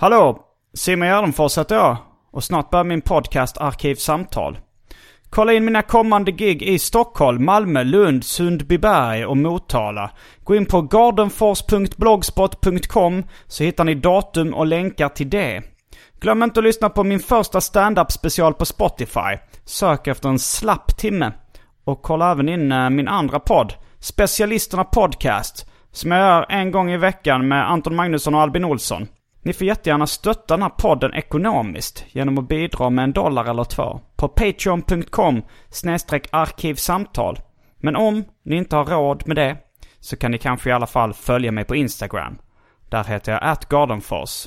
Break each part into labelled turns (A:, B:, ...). A: Hallå! Simon Gärdenfors heter jag och snart börjar min podcast Arkivsamtal. Kolla in mina kommande gig i Stockholm, Malmö, Lund, Sundbyberg och Motala. Gå in på gardenfors.blogspot.com så hittar ni datum och länkar till det. Glöm inte att lyssna på min första stand-up special på Spotify. Sök efter en slapp timme. Och kolla även in eh, min andra podd, Specialisterna Podcast, som jag gör en gång i veckan med Anton Magnusson och Albin Olsson. Ni får jättegärna stötta den här podden ekonomiskt genom att bidra med en dollar eller två på patreon.com snedstreck arkivsamtal. Men om ni inte har råd med det så kan ni kanske i alla fall följa mig på Instagram. Där heter jag atgardenfors.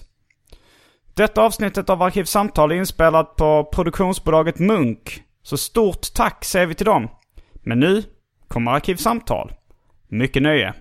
A: Detta avsnittet av Arkivsamtal är inspelat på produktionsbolaget Munk. Så stort tack säger vi till dem. Men nu kommer Arkivsamtal. Mycket nöje.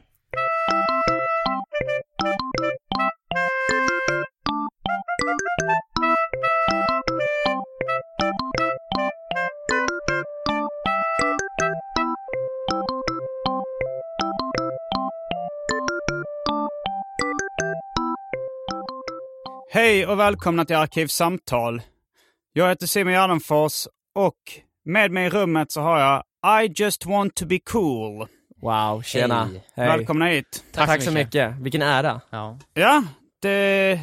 A: Hej och välkomna till Arkivsamtal. Jag heter Simon Gärdenfors och med mig i rummet så har jag I just want to be cool.
B: Wow, tjena.
C: Hej.
A: Välkomna hit.
B: Tack,
C: Tack,
B: så mycket.
C: Vilken ära.
B: Ja.
A: Ja, det,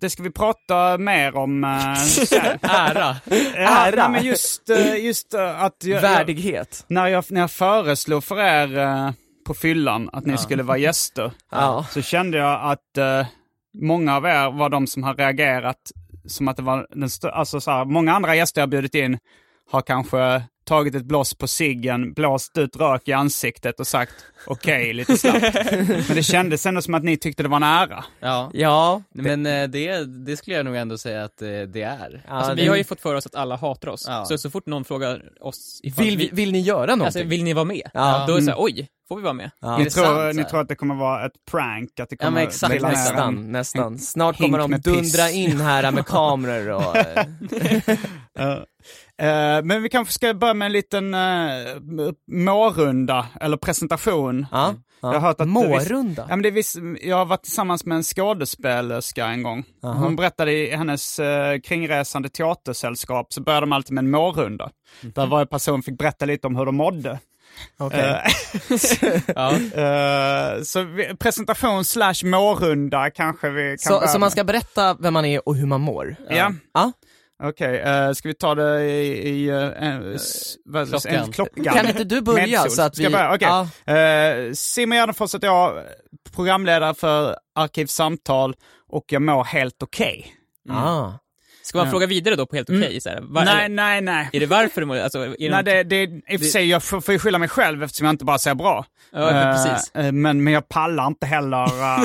A: det ska vi prata mer om eh, sen.
B: Ära.
A: Ja,
C: Ära.
A: nej, men just, eh, just eh, att jag, jag,
C: Värdighet.
A: när, jag, när jag föreslog för er eh, på fyllan att ni skulle vara gäster
C: Ja.
A: så kände jag att eh, många av er var de som har reagerat som att det var den stö- alltså så här, många andra gäster jag bjudit in har kanske tagit ett blås på ciggen, blåst ut rök i ansiktet och sagt okej lite snabbt. Men det kändes ändå som att ni tyckte det var nära.
B: Ja.
C: Ja.
B: Men eh, det, det skulle jag nog ändå säga att eh, det är.
D: Alltså,
C: det-
D: vi har ju fått för oss att alla hatar oss,
B: Ja.
D: så så fort någon frågar oss ifall
C: Vill, vi- vill ni göra någonting?
D: alltså, vill ni vara med?
C: Ja.
D: Då är det såhär, oj, får vi vara med?
C: Ja.
A: Ni,
B: det
A: tror,
B: sant, så här?
A: ni tror att det kommer vara ett prank? Att det
B: Ja, men
A: kommer
B: exakt,
A: trilla ner en-
C: Nästan, nästan. Snart
A: hink
C: kommer de
A: med piss.
C: dundra in här med kameror och... eh,
A: Eh, men vi kanske ska börja med en liten uh, mårunda, eller presentation.
C: ja.
A: Jag har hört att det visst-
C: Mårunda?
A: Ja, men det är viss, jag har varit tillsammans med en skådespelerska en gång. Hon berättade i hennes eh, kringresande teatersällskap så började de alltid med en mårunda. Där varje person fick berätta lite om hur de mådde.
C: Mhm. Okej.
A: Eh, så vi, presentation slash mårunda kanske vi kan
C: Så,
A: börja
C: så man
A: med.
C: ska berätta vem man är och hur man mår?
A: Ja.
C: Ja.
A: Okej, eh, ska vi ta det i, i eh, en- s- vad-
B: Klockan.
A: en klockan?
C: Kan inte du börja
A: Medsol.
C: så att
A: Ska jag
C: vi...
A: börja? Okej.
C: Ja.
A: Eh, Simon Gärdenfors heter jag, programledare för Arkivsamtal och jag mår helt okej.
C: Ah.
D: Ska man fråga vidare då på helt okej? så här, va-
A: Nej,
D: eller,
A: nej, nej.
D: Är det varför du mår- alltså, är det
A: nej
D: något-
A: det, det, I och för sig, jag får får ju skylla mig själv eftersom jag inte bara säger bra.
D: Ja, men
A: Eh,
D: precis.
A: eh, men, men jag pallar inte heller eh,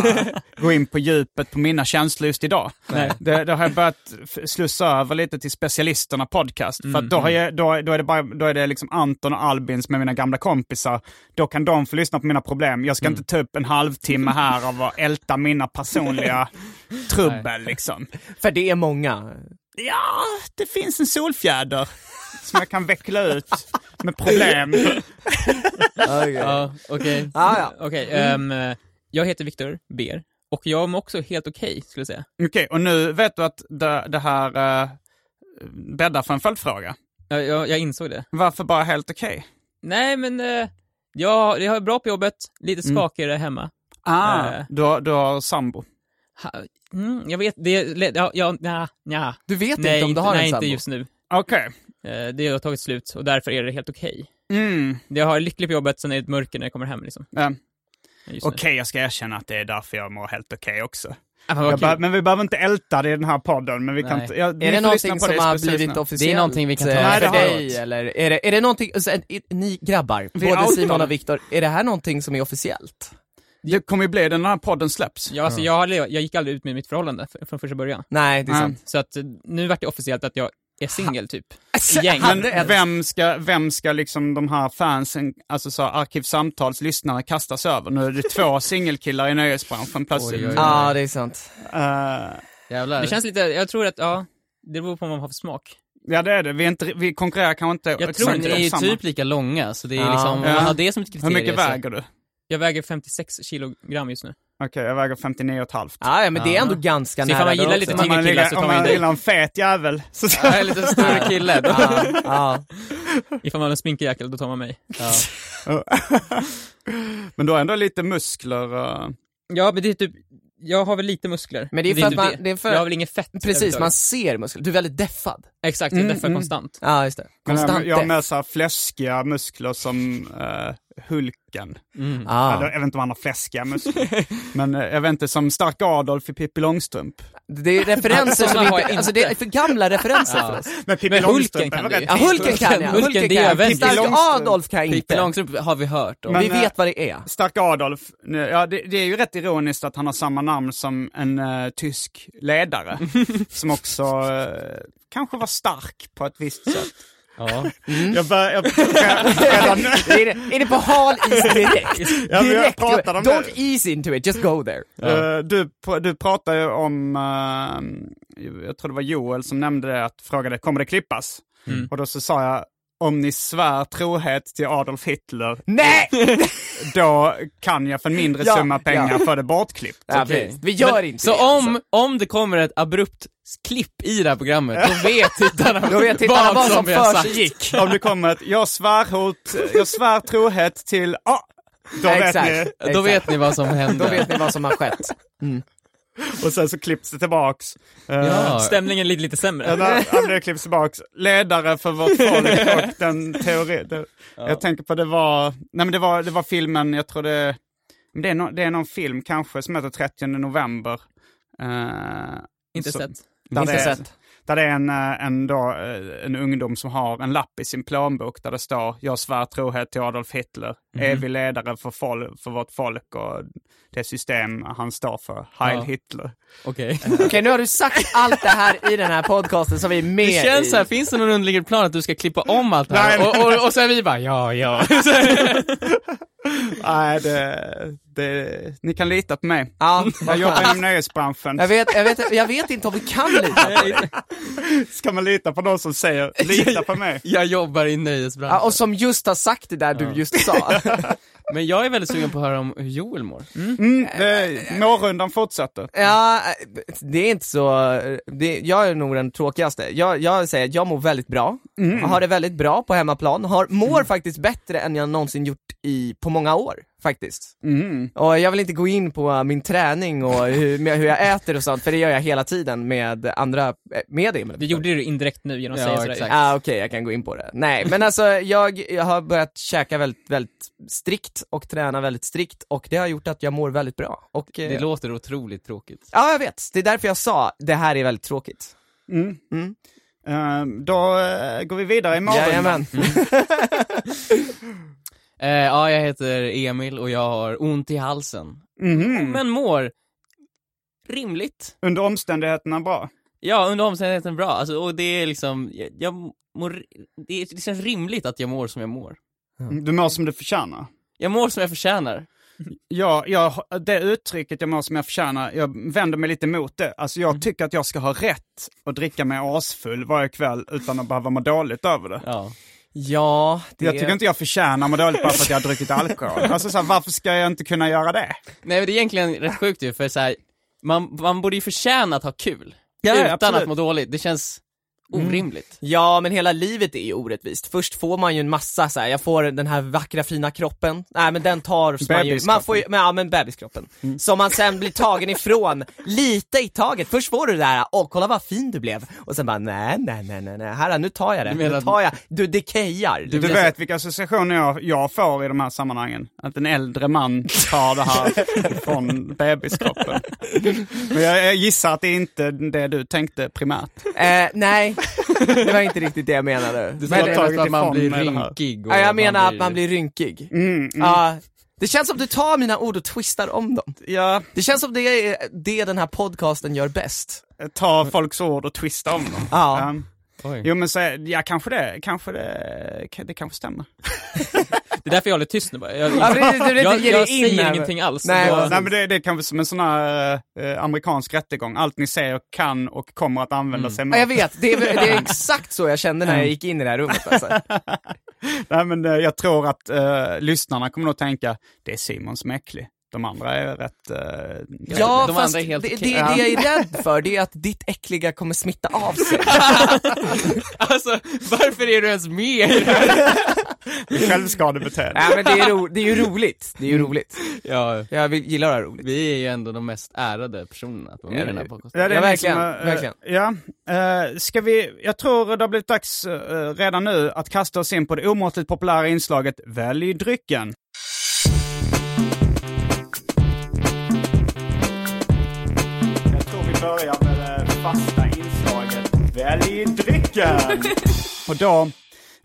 A: gå in på djupet på mina känslor just idag. Det, det har jag börjat f- slussa över lite till specialisterna podcast. För
D: Mm,
A: att då, har jag, då, då är det, bara, då är det liksom Anton och Albin som är mina gamla kompisar. Då kan de få lyssna på mina problem. Jag ska
D: Mm.
A: inte ta upp en halvtimme här av att älta mina personliga trubbel liksom.
C: För det är många.
A: Ja, det finns en solfjäder som jag kan veckla ut med problem.
D: Ja, okej.
C: Ah, ja.
D: Okej, ehm, jag heter Viktor Ber och jag mår också helt okej, skulle jag säga.
A: Okej, och nu vet du att det, det här eh, bäddar för en följdfråga.
D: Jag, jag, jag insåg det.
A: Varför bara helt okej?
D: Nej, men eh, jag, jag har bra på jobbet, lite skakigare hemma.
A: Ah,
D: Eh.
A: du, har, du har sambo.
D: Ha, mm, jag vet, det är... le- Ja, ja, nja, nja.
C: Du vet
D: Nej,
C: inte om du har
D: nej,
C: en sambo?
D: inte just nu.
A: Okej.
D: Eh, Det har tagit slut och därför är det helt okej.
A: Mm.
D: Jag har lyckligt på jobbet, sen är det ett mörker när jag kommer hem liksom.
A: Ja.
D: Just nu.
A: Okej, jag ska erkänna att det är därför jag mår helt okej också.
D: Ah, men
A: Jag
D: vad
A: bör,
D: kul.
A: men vi behöver inte älta det i den här podden. Men vi kan
B: Nej.
A: inte, jag, ni
C: Är det
A: får lyssna
C: någonting
A: på
C: som har
A: speciellt
C: blivit
A: nu.
C: officiellt?
B: Det är någonting vi kan ta
C: eh,
B: med
A: Nej, det
C: för
A: har jag
C: dig, eller? Är det, är det någonting, så, eh, i- ni grabbar,
A: Vi
C: både
A: outar
C: Simon
A: dem.
C: och Viktor, är det här någonting som är officiellt?
A: Det kommer ju bli det när den här podden släpps.
D: Ja, alltså, jag, hade, jag gick aldrig ut med mitt förhållande f- från första början.
C: Nej, det är
A: Nej.
C: sant.
D: Så att eh, nu vart det officiellt att jag är singel typ.
C: Gäng.
A: Men vem ska, vem ska liksom de här fansen, alltså så här, arkivsamtals lyssnare kastas över? Nu är det två singelkillar i nöjesbranschen plötsligt.
B: Oj, oj, oj.
C: Ja, det är sant.
A: Eh,
B: Jävlar.
D: Det känns lite, jag tror att, ja, det beror på vad man har för smak.
A: ja det är det, vi, är inte, vi konkurrerar kanske inte
D: Jag tror
A: exakt
B: Men
D: inte
B: ni är ju
A: samma.
B: typ lika långa, så det är
C: Ja.
B: liksom, om
A: Ja.
B: man har det som ett
A: Hur
B: kriterium.
A: mycket
B: så-
A: väger du? Okej,
D: Jag väger 56 kilogram just nu.
A: jag väger 59 och ett halvt.
C: Ah, ja, men det är ändå ganska
D: Så ifall
C: nära
D: man
C: då
D: gillar
C: också.
D: lite
A: Om man,
D: Singelkillar så
A: ligger,
D: tar
A: om
D: man ju
A: man
D: dig.
A: gillar en fet jävel. Så, så,
B: Jag är lite större kille. Då.
C: Ja, ja.
D: Ifall man har en sminkig jäkel, då tar man mig.
A: men du har ändå lite muskler. eh.
D: Ja, men det är typ, jag har väl lite muskler.
C: Men det är för
D: typ
C: att man- det är för-
D: Jag har väl inget fett.
C: Precis, man
D: överhuvudtaget.
C: ser muskler. Du är väldigt deffad.
D: Exakt, jag
A: Mm,
D: deffar
A: mm.
D: konstant.
C: Ja, just det.
A: Men jag-
C: Konstant
A: jag har
C: deff.
A: med så här fläskiga muskler som eh, Hulken. Eller
C: Ja,
A: jag vet inte om han har fläskiga muskler. men eh, jag vet inte, som Stark Adolf i Pippi Långstrump.
C: det är referenser som
D: Sådana har jag
C: inte, alltså det är för gamla referenser för oss.
A: Men Pippi
D: Men
A: Långstrump
D: Hulken kan
A: är väl
D: det
A: rätt
D: ju.
C: Ja, Hulken kan jag,
D: Hulken,
C: Hulken
D: det
C: kan
D: är
C: jag.
D: väldigt-
C: Stark
A: Långstrump.
C: Adolf kan jag
B: Pippi
C: inte.
B: Långstrump har vi hört om.
A: Men- eh,
C: Vi vet vad det är.
A: Stark Adolf, nu- ja, det, det är ju rätt ironiskt att han har samma namn som en eh, tysk ledare. som också eh, kanske var stark på ett visst sätt.
B: Ja.
A: Jag, bör, jag, redan, nu-
C: är, det, är det på hal is direkt?
A: Ja, men jag
C: direkt
A: pratar om det.
C: Don't ease into it, just go there.
A: Eh, du, pr- du pratade ju om, eh, jag tror det var Joel som nämnde det, att frågade kommer det klippas?
C: Mm.
A: Och då så sa jag, om ni svär trohet till Adolf Hitler,
C: Nej!
A: då kan jag för en mindre
C: Ja,
A: summa pengar
C: ja.
A: få det bortklippt.
C: Ja,
B: Okej.
C: precis. Vi gör
B: Men-
C: inte
B: Så
C: det,
B: om,
C: alltså.
B: om det kommer ett abrupt klipp i det här programmet, då vet tittarna,
C: Då vet tittarna vad som
B: vi har sagt.
C: försiggick.
A: Om det kommer ett, jag svär, hot, jag svär trohet till, ah, då
C: Exakt.
A: vet ni.
B: Då vet
C: Exakt.
B: ni vad som
C: Då
B: hände.
C: vet ni vad som har skett.
A: Och sen så klipps det tillbaks. Eh,
B: Ja.
D: Stämningen ligger lite sämre.
A: Ja, där- ja, det klipps tillbaks. Ledare för vårt folk och den teori. Det, Jag tänker på det var, nej men det var, det var filmen, jag tror det, men det är, no, det är någon film kanske som heter 30 november. Eh,
D: Inte
A: så-
D: sett.
A: Där
C: Minsta
A: det, är-
C: sätt.
A: där det är en, eh, en, då, eh, en ungdom som har en lapp i sin plånbok där det står jag svär trohet till Adolf Hitler,
C: Mhm.
A: evig ledare för, fol- för vårt folk och det system han står för, Heil
B: Ja.
A: Hitler.
B: Okej.
C: Okej, nu har du sagt allt det här i den här podcasten som vi är med
B: Det känns
C: i.
B: så här, finns det någon underliggande plan att du ska klippa om allt det här?
A: Nej,
B: Och, och, och sen vi bara, ja, ja.
A: Nej, det, det, ni kan lita på mig.
B: Mm.
C: Ja,
A: Jag
C: vad
A: jobbar
C: skönt.
A: inom nöjesbranschen.
C: Jag vet, jag, vet, jag vet inte om vi kan lita på det.
A: Ska man lita på någon som säger lita på mig?
B: Jag jobbar i
C: Ja,
B: nöjesbranschen.
C: och som just har sagt det där du just sa.
B: Men jag är väldigt sugen på att höra om hur Joel mår.
A: Mm, det, mårrundan fortsätter.
C: Ja, det är inte så, det, jag är nog den tråkigaste. Jag, jag säger att jag mår väldigt bra, Jag har det väldigt bra på hemmaplan, har, mår faktiskt bättre än jag någonsin gjort i, på många år faktiskt.
A: Mm.
C: Och jag vill inte gå in på min träning och hur, med, hur jag äter och sånt, för det gör jag hela tiden med andra, eh, med dig.
D: Du gjorde det indirekt nu genom att
B: Ja,
D: säga sådär.
B: exakt.
C: Ah, Okej, jag kan gå in på det. Nej, men alltså jag, jag har börjat käka väldigt, väldigt strikt och träna väldigt strikt och det har gjort att jag mår väldigt bra. Och, eh,
B: Det låter otroligt tråkigt.
C: Ja, jag vet. Det är därför jag sa, det här är väldigt tråkigt.
A: Mm.
C: Mm.
A: Eh, då eh, går vi vidare i mårrundan.
C: Jajamän.
B: Eh, ja, jag heter Emil och jag har ont i halsen.
A: Mhm.
B: Men mår rimligt.
A: Under omständigheterna bra.
B: Ja, under omständigheten bra. Alltså, och det är liksom, jag, jag mår, det, är, det känns rimligt att jag mår som jag mår.
A: Du mår som du förtjänar.
B: Jag mår som jag förtjänar.
A: Ja, jag, det uttrycket jag mår som jag förtjänar, jag vänder mig lite mot det. Alltså jag tycker att jag ska ha rätt att dricka mig asfull varje kväll utan att behöva må dåligt över det.
B: Ja.
C: Ja, det...
A: Jag tycker inte jag förtjänar att må dåligt bara för att jag har druckit alkohol. Alltså så här, varför ska jag inte kunna göra det?
B: Nej men det är egentligen rätt sjukt ju, för så här, man, man borde ju förtjäna att ha kul.
A: Ja,
B: utan
A: absolut.
B: att må dåligt. Det känns Orimligt.
C: Ja, men hela livet är ju orättvist. Först får man ju en massa så här. jag får den här vackra fina kroppen, nej men den tar man ju, man
A: Bebiskroppen. Mm.
C: får ju, men, ja men bebiskroppen. Som man sen blir tagen ifrån, lite i taget. Först får du det där, åh kolla vad fin du blev, och sen bara nej nej nej nej, nej. här nu tar jag det,
B: Du menar
C: nu
B: att-
C: tar jag, du dekejar.
A: Du vet vilka associationer jag, jag får i de här sammanhangen. Att en äldre man tar det här från bebiskroppen. Men jag, jag gissar att det är inte det du tänkte primärt.
C: Eh, nej, det var inte riktigt det jag menade.
B: Du
A: Men-
B: sa nästan att man
A: ifrån
B: blir
A: med det här.
B: rynkig och
C: Ja, jag menar att man blir rynkig. Ja, det känns som du tar mina ord och twistar om dem.
A: Ja,
C: Det känns som det är det den här podcasten gör bäst.
A: ta folks ord och twista om dem.
C: Ja.
A: Ehm,
B: Oj.
A: Jo men så, ja kanske det, kanske det, det kanske stämmer.
D: Det är därför jag håller tyst nu bara. Jag,
C: Ja, precis, du vill inte
D: jag,
C: ge
D: jag
C: dig in
D: säger
C: här.
D: ingenting alls.
C: Nej,
D: jag,
C: precis.
A: Nej men det, det är kanske som en sån här eh, amerikansk rättegång, allt ni säger kan och kommer att använda sig
C: Mm. Ja,
A: mot.
C: jag vet, det är, det är exakt så jag kände när jag gick in i det här rummet alltså.
A: Nej men eh, jag tror att eh, lyssnarna kommer nog tänka, det är Simon som är äcklig. De andra är rätt... eh,
C: Ja,
B: de
C: fast
B: andra är helt
C: det, det,
B: okej.
C: det jag är rädd för det är att ditt äckliga kommer smitta av sig.
B: Alltså, varför är du ens med i det här?
A: självskadebeteende.
C: Nej men det är, ro, det är ju roligt, det är ju roligt.
B: Ja,
C: Jag vill, gillar att ha roligt.
B: vi är ju ändå de mest ärade personerna att vara med i den här podcasten.
A: Ja, det är
C: Ja,
A: ni
C: verkligen,
A: som, eh,
C: verkligen.
A: Ja, eh, ska vi, jag tror det har blivit dags eh, redan nu att kasta oss in på det omåttligt populära inslaget Välj drycken. Jag tror vi börjar med det fasta inslaget Välj drycken. Och då,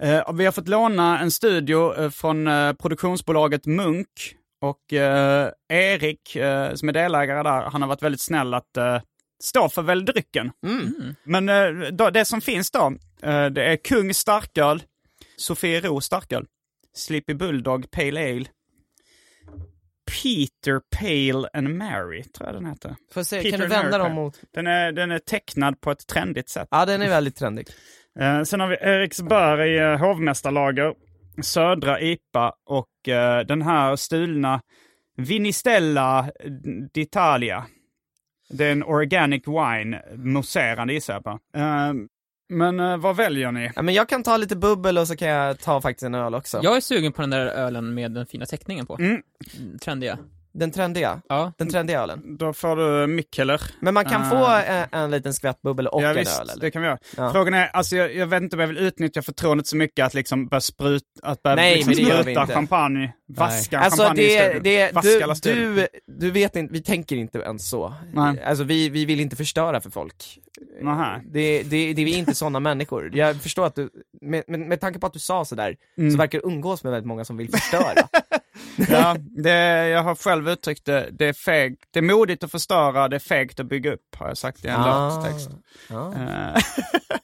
A: eh, vi har fått låna en studio eh, från eh, produktionsbolaget Munk. Och eh, Erik, eh, som är delägare där, han har varit väldigt snäll att eh, stå för väl drycken.
C: Mm.
A: Men eh, då, det som finns då, eh, det är Kung starköl, Sofiero starköl, Sleepy Bulldog Pale Ale, Peter Pale and Mary, tror jag den heter.
C: Får se,
A: Peter
C: kan du
A: and Mary
C: vända dem
A: Pale.
C: mot...
A: Den är, den är tecknad på ett trendigt sätt.
C: Ja den är väldigt trendig.
A: Eh, sen har vi Eriksberg eh, hovmästarlager, Södra IPA och eh, den här stulna Vinistella d'Italia. Det är en organic wine, mousserande gissar jag på. Eh, men eh, vad väljer ni?
C: Ja men jag kan ta lite bubbel och så kan jag ta faktiskt en öl också.
D: jag är sugen på den där ölen med den fina teckningen på.
A: Mm.
D: Trendiga.
C: Den trendiga,
D: Ja.
C: den trendiga ölen.
A: Då får du Mikkeler.
C: Men man kan
A: Ah.
C: få en, en liten skvätt bubbel och
A: ja,
C: en
A: visst,
C: öl eller?
A: det kan vi göra.
C: Ja.
A: Frågan är, alltså jag, jag vet inte om jag vill utnyttja förtroendet så mycket att liksom börja spruta, att börja
C: Nej,
A: liksom
C: men det gör vi
A: spruta
C: inte.
A: champagne, vaska
C: Alltså
A: champagne i
C: det,
A: studion.
C: det
A: Vaska
C: du,
A: alla studion.
C: du, du vet inte, vi tänker inte ens så.
A: Nej.
C: Alltså vi, vi vill inte förstöra för folk.
A: Nähä.
C: Det, det, det är vi inte sådana människor. Jag förstår att du, med, med, med tanke på att du sa sådär,
A: Mm.
C: så verkar du umgås med väldigt många som vill förstöra.
A: Ja, det, jag har själv uttryckt det. Det är, feg, det är modigt att förstöra, det är fegt att bygga upp, har jag sagt i en
C: Ah.
A: låttext.
C: ja.
A: Eh,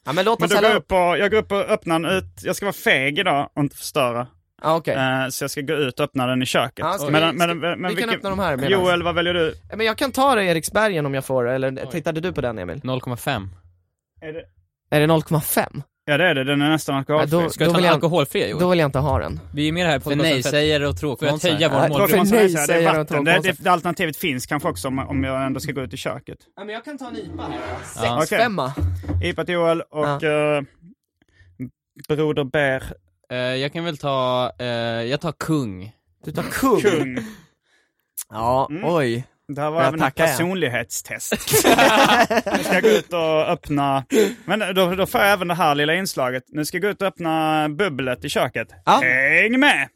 C: ja men låt
A: men
C: oss
A: då går jag,
C: hälla upp.
A: upp och, jag går upp och öppnar den ut. Jag ska vara feg idag och inte förstöra.
C: Ja, okej.
A: Eh, så jag ska gå ut och öppna den i köket.
C: Ja, Ah, ska vi-
A: Men- men-
C: ska-
A: men- men
C: vi kan
A: vilken-
C: öppna de här medan.
A: Joel, vad väljer du?
C: Men jag kan ta det Eriksbergen om jag får, eller tittade du på den Emil?
B: 0,5.
A: Är det...
C: Är det 0,5?
A: Ja det är det, den är nästan
C: Ja,
A: alkoholfri.
C: då,
D: Ska jag
C: då,
D: ta
C: vill
D: den
C: jag,
D: alkoholfria Joel?
C: då vill jag inte ha den.
D: Vi är med i det här på
B: För nej säger och
D: För att
B: tråkmånsar.
D: höja
C: Ja,
D: vår
C: tråkigt.
D: målgrupp.
A: Tråkigt måste man säga, det
C: nej, säger
A: är
C: jag
A: vatten. Det,
C: och
A: det, det alternativet finns kanske också om, om jag ändå ska gå ut i köket.
C: Ja, men jag kan ta en IPA här
A: Ja. Okej.
C: Femma.
A: IPA till Joel och eh, Broder Bär
B: Eh, jag kan väl ta, eh, jag tar kung.
C: Du tar kung.
A: Kung.
C: Ja,
A: Mm.
C: oj.
A: Det här var
C: Jag
A: även ett
C: tackar, ja.
A: personlighetstest. nu ska jag gå ut och öppna... Men då, då får jag även det här lilla inslaget. Nu ska jag gå ut och öppna bubblet i köket.
C: Ja.
A: Häng med!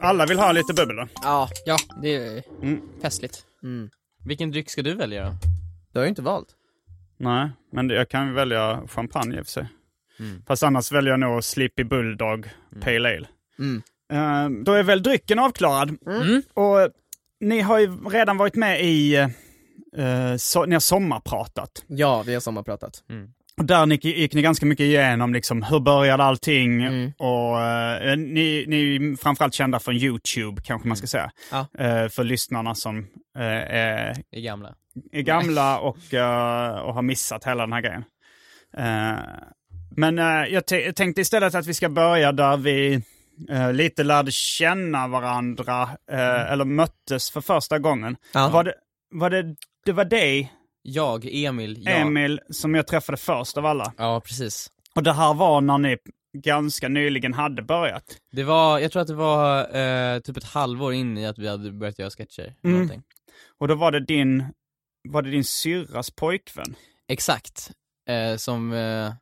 A: Alla vill ha lite bubbel då.
C: Ja,
D: Ja, det är festligt.
B: Vilken dryck ska du välja då?
C: du har ju inte valt.
A: Nej, men jag kan välja champagne i och för sig.
C: Mm.
A: Fast annars väljer jag nog Sleepy Bulldog Pale Ale.
C: Mm.
A: Eh, då är väl drycken avklarad. Och eh, ni har ju redan varit med i, eh, so- ni har sommarpratat.
C: Ja, vi har sommarpratat.
A: Och där gick, gick ni ganska mycket igenom liksom, hur började allting?
C: Mm.
A: Och, eh, ni, ni är ju framförallt kända från YouTube kanske
C: Mm.
A: man ska säga. Eh, för lyssnarna som eh, är
B: I gamla.
A: är gamla och, eh, och har missat hela den här grejen. Eh, men eh, jag, t- jag tänkte istället att vi ska börja där vi eh, lite lärde känna varandra, eh, eller möttes för första gången.
C: Ja.
A: Var, det, var det, det var dig,
B: Jag, Emil, jag.
A: Emil, som jag träffade först av alla.
B: Ja, precis.
A: Och det här var när ni ganska nyligen hade börjat.
B: Det var, jag tror att det var eh, typ ett halvår in i att vi hade börjat göra sketcher. eller
A: Mm.
B: Någonting.
A: Och då var det din, var det din syrras pojkvän?
B: Exakt. Eh, som eh,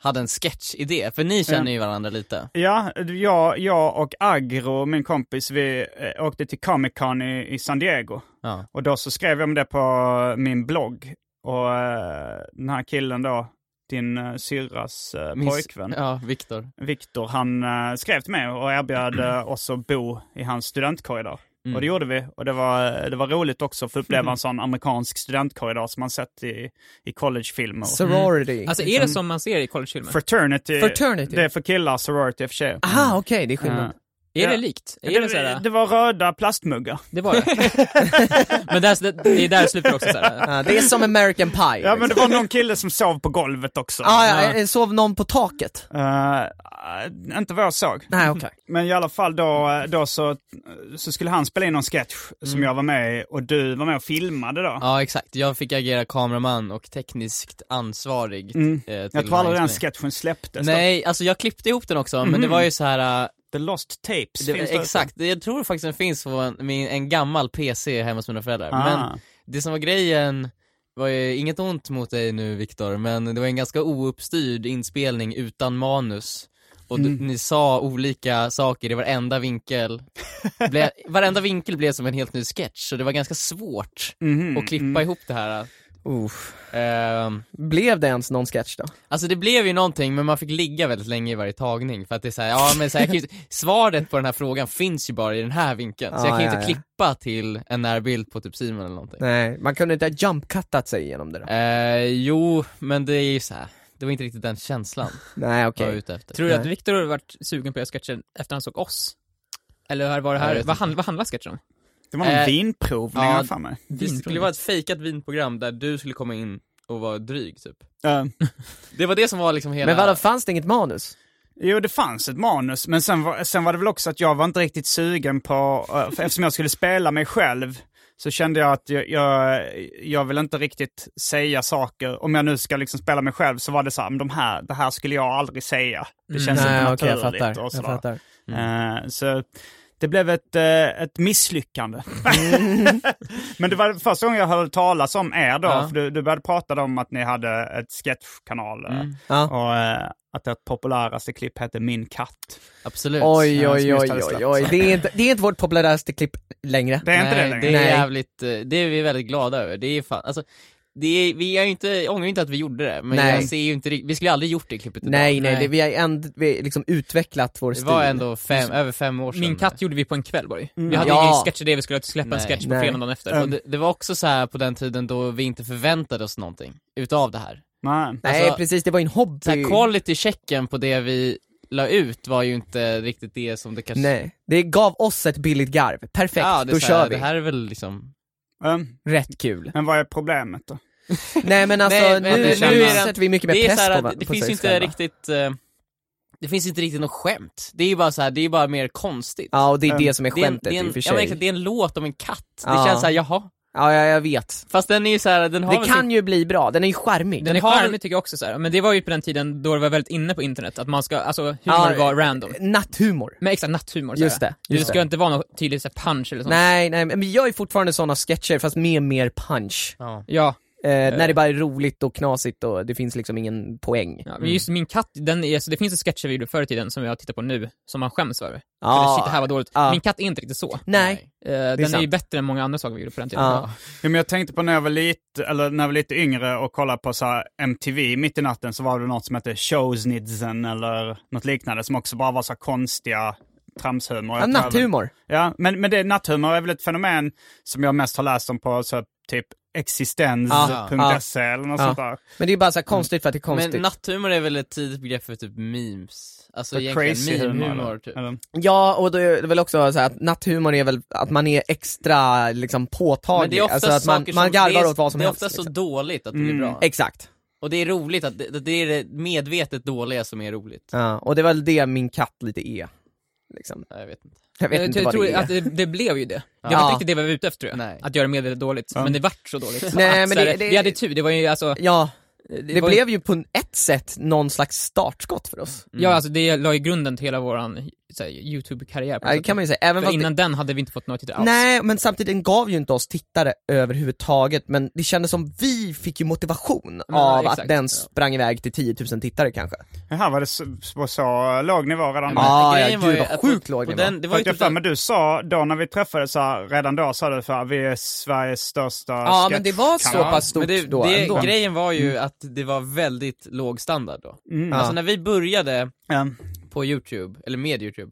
B: hade en sketchidé, för ni känner ju varandra lite.
A: Ja, jag, jag och Agro, min kompis, vi eh, åkte till Comic Con i, i San Diego.
B: Ja.
A: Och då så skrev jag om det på min blogg. Och eh, den här killen då, din eh, syrras eh,
B: Min s-
A: pojkvän,
B: Ja, Viktor.
A: Viktor, han eh, skrev till mig och erbjöd eh, oss att bo i hans studentkorridor. Och det gjorde vi. Och det var, eh, det var roligt också att få uppleva en sån amerikansk studentkorridor som man sett i, i collegefilmer.
C: Sorority.
D: Alltså är
B: Liksom.
D: det som man ser i collegefilmer?
A: Fraternity,
C: Fraternity.
A: det är för killar, sorority är för tjejer.
B: Ah,
C: Aha, okej, det är skillnad.
D: Ah, Är
A: Ja.
D: det likt? Är det,
A: Det,
D: såhär,
A: det,
D: det,
A: var röda plastmuggar.
D: var det. Men där, det, det är där det slutar också såhär.
C: Ja, det är som American Pie.
A: Ja men det
C: liksom.
A: var någon kille som sov på golvet också.
C: ah, ja, eh, sov någon på taket?
A: Eh, eh, inte vad jag såg.
C: Nej, okej.
A: Men i alla fall då, då så, så skulle han spela in någon sketch som jag var med i och du var med och filmade då.
B: Ja, exakt. Jag fick agera kameraman och tekniskt ansvarig. eh, till
A: jag tror aldrig
B: här
A: den
B: inspelningen.
A: sketchen släpptes. då.
B: Nej, alltså jag klippte ihop den också,
C: Mhm.
B: men det var ju så här. eh,
A: The Lost Tapes
B: Det,
A: finns där
B: exakt, jag tror faktiskt den finns på en, min, en gammal PC hemma hos mina föräldrar.
A: ute. Ah.
B: Men det som var grejen var ju inget ont mot dig nu Viktor, men det var en ganska ouppstyrd inspelning utan manus. Och du,
A: Mm.
B: ni sa olika saker i varenda vinkel. Ble, varenda vinkel blev som en helt ny sketch, så det var ganska svårt
A: Mhm,
B: att klippa ihop det här.
C: Uff.
B: Ehm,
C: Blev det ens någon sketch då?
B: Alltså det blev ju någonting, men man fick ligga väldigt länge i varje tagning för att det är såhär, ja men så här, jag kan ju, svaret på den här frågan finns ju bara i den här vinkeln, så
C: Ja,
B: jag kan ju
C: Ah, ja,
B: inte
C: ja.
B: klippa till en närbild på typ Simon eller någonting.
C: Nej, man kunde inte ha jumpcuttat sig igenom det då?
B: Eh, jo, men det är ju så här. det var inte riktigt den känslan
C: Nej,
B: jag
C: okej.
B: var ute efter.
D: Tror du att
C: Nej.
D: Viktor har varit sugen på att göra sketchen efter han såg oss? Eller var det
B: Jag
D: här,
B: vet
D: vad, hand, vad handlar sketchen om?
A: Det var någon
B: Eh,
A: vinprovning
B: ja,
A: har jag för mig.
B: det skulle vara ett fejkat vinprogram där du skulle komma in och vara dryg typ.
A: Eh,
B: Det var det som var liksom hela...
C: Men vadå, fanns det inget manus?
A: jo, det fanns ett manus, men sen var, sen var det väl också att jag var inte riktigt sugen på, eh, för eftersom jag skulle spela mig själv, så kände jag att jag, jag, jag vill inte riktigt säga saker. Om jag nu ska liksom spela mig själv så var det så här, "Men de här, det här skulle jag aldrig säga. Det känns
C: Mm.
A: inte naturligt och sådär. Eh, Så det blev ett, eh, ett misslyckande. Men det var första gången jag hörde talas om er då,
B: Ja.
A: för du, du började prata om att ni hade ett sketchkanal eh,
C: Ja.
A: och eh, att ert populäraste klipp hette Min katt.
B: Absolut.
C: Oj,
A: Ja, som
C: oj,
A: just
C: oj,
A: hade
C: oj,
A: släppts.
C: oj. Det är inte, det är inte vårt populäraste klipp längre.
A: Det är inte det
B: Nej,
A: längre.
B: det är
C: Nej.
B: jävligt, eh, det är vi väldigt glada över. Det är fan, alltså, det är, vi är ju inte, ångrar ju inte att vi gjorde det, men
C: Nej.
B: jag ser ju inte rikt- vi skulle aldrig gjort det klippet idag.
C: Nej, nej,
D: Nej.
C: Det, vi har änd, vi har liksom utvecklat vår
B: Det
C: stil.
B: var ändå fem, över fem år sedan.
D: Min katt gjorde vi på en kväll bara ju. Vi hade
C: Ja.
D: ingen sketchidé, vi skulle släppa
B: Nej.
D: en sketch på
C: Nej.
D: fredagen dagen efter.
B: Och det, det var också så här på den tiden då vi inte förväntade oss någonting utav det här.
A: Nej.
C: Nej,
B: alltså-
C: precis, det var ju en hobby.
B: Så här, quality-checken på det vi la ut var ju inte riktigt det som det kanske...
C: Nej, det gav oss ett billigt garv. Perfekt,
B: ja, det är
C: då
B: så här,
C: kör vi.
B: Det här är väl liksom...
A: Mm.
C: Rätt kul.
A: Men vad är problemet då?
C: Nej men alltså,
B: Nej, men
C: nu,
B: det
C: nu
B: känns-
C: sätter vi mycket mer
B: det är
C: press
B: så här,
C: på,
B: att det
C: på
B: finns
C: sig
B: ju inte
C: själva.
B: riktigt... eh, Det finns inte riktigt något skämt. Det är ju bara så här, det är ju bara mer konstigt.
C: Ja, och det är
A: Mm.
C: det som är
B: Det är en,
C: skämtet
B: det är
C: i
B: en,
C: och för
B: ja, men
C: sig.
B: exakt, det är en låt om en katt. Det
C: Ja.
B: känns såhär, jaha.
C: Ja, ja, jag vet.
B: Fast den är ju såhär, den har
C: Det
B: väl typ-
C: kan
B: sin-
C: ju bli bra, den är ju charmig.
D: Den är
B: har-
D: charmig tycker jag också så här. men det var ju på den tiden då det var väldigt inne på internet, att man ska, alltså humor
C: Ja,
D: var random.
C: Natthumor.
B: Mm.
D: Men exakt, natthumor så här.
C: Just det,
D: det
C: just
D: ska
C: det.
D: inte vara någon tydlig så här, punch eller sånt.
C: Nej, nej, men vi gör ju fortfarande sådana sketcher fast med mer punch.
B: Ja.
D: Ja,
C: Eh, När det bara är roligt och knasigt och det finns liksom ingen poäng. Mm.
D: ja
B: Mm.
D: men just min katt, den är, så det finns en sketch jag gjorde förr i tiden som jag tittar på nu, som man skäms över.
C: Ja.
D: För shit, det här var dåligt.
C: Ja.
D: Min katt är inte riktigt så.
C: Nej.
D: Eh, den är, ju
C: sant.
D: bättre än många andra saker vi gjorde på den tiden.
C: Ja.
A: Ja, men jag tänkte på när jag var lite, eller när jag var lite yngre och kollade på så här MTV mitt i natten så var det något som hette Showsnidsen eller något liknande som också bara var så här konstiga tramshumor.
C: Ja,
A: Jag tror även-
C: natthumor.
A: Ja, men, men det, natthumor är väl ett fenomen som jag mest har läst om på så här, typ existens.se E eller något sånt där.
C: Men det är bara så här konstigt för att det är konstigt.
B: Mm. Men natthumor är väl ett tidigt begrepp för typ memes? Alltså
A: Så crazy
B: egentligen
A: humor.
B: meme-humor
A: eller-
B: typ.
A: eller-
C: Ja, och då är det väl också så här att natthumor är väl att man är extra liksom
B: Men
C: påtaglig.
B: det är ofta
C: Alltså att man,
B: saker
C: man
B: som,
C: garvar
B: det är,
C: åt vad som
B: Det är
C: helst.
B: ofta så
C: liksom.
B: dåligt att det blir bra.
C: Exakt.
B: Och det är roligt att det, det är det medvetet dåliga som är roligt.
C: Ja, och det var väl det min katt lite är. Liksom.
B: Nej, jag vet inte.
C: Jag vet inte vad
D: tror
C: det är.
D: att det, det blev ju det. Det
C: Ja.
D: var inte riktigt det vi var ute efter tror jag.
B: Nej.
D: Att göra medvetet dåligt, men det vart så dåligt.
C: Nej, men
D: Att så
C: det-
D: här,
C: det- Mm.
D: Vi hade tur, det var ju alltså,
C: Ja,
D: det,
C: det,
D: var ju-
C: blev ju på ett sätt någon slags startskott för oss.
D: Ja, alltså det la ju grunden till hela våran så här, YouTube-karriär på
C: Ja, det
D: sätt.
C: kan man ju säga. Även
D: alltså, För
C: fast
D: innan den hade vi inte fått några tittare alls.
C: Nej, men samtidigt den gav ju inte oss tittare överhuvudtaget, men det kändes som vi fick ju motivation
D: Men,
C: av
D: exakt,
C: att den
D: ja.
C: sprang iväg till 10 000 tittare kanske.
A: Här var det så, på så låg nivå redan då.
D: Men
C: Ah,
D: grejen
C: ja,
D: var
C: gud,
D: ju
C: vad
D: att
C: sjukt
D: på-
C: låg
D: på
C: den var.
D: den- Det var
A: För
D: ju
A: att jag
D: typ
A: för mig du sa, då när vi träffades så här, redan då sa du för att vi är Sveriges största
C: Ja, men det var så
A: sketchkanal.
C: pass stort
B: Men det,
C: då
B: det,
C: ändå.
B: grejen var ju
C: Mm.
B: att det var väldigt låg standard då.
A: Mm.
B: Alltså när vi började
A: Ja.
B: på Youtube, eller med Youtube,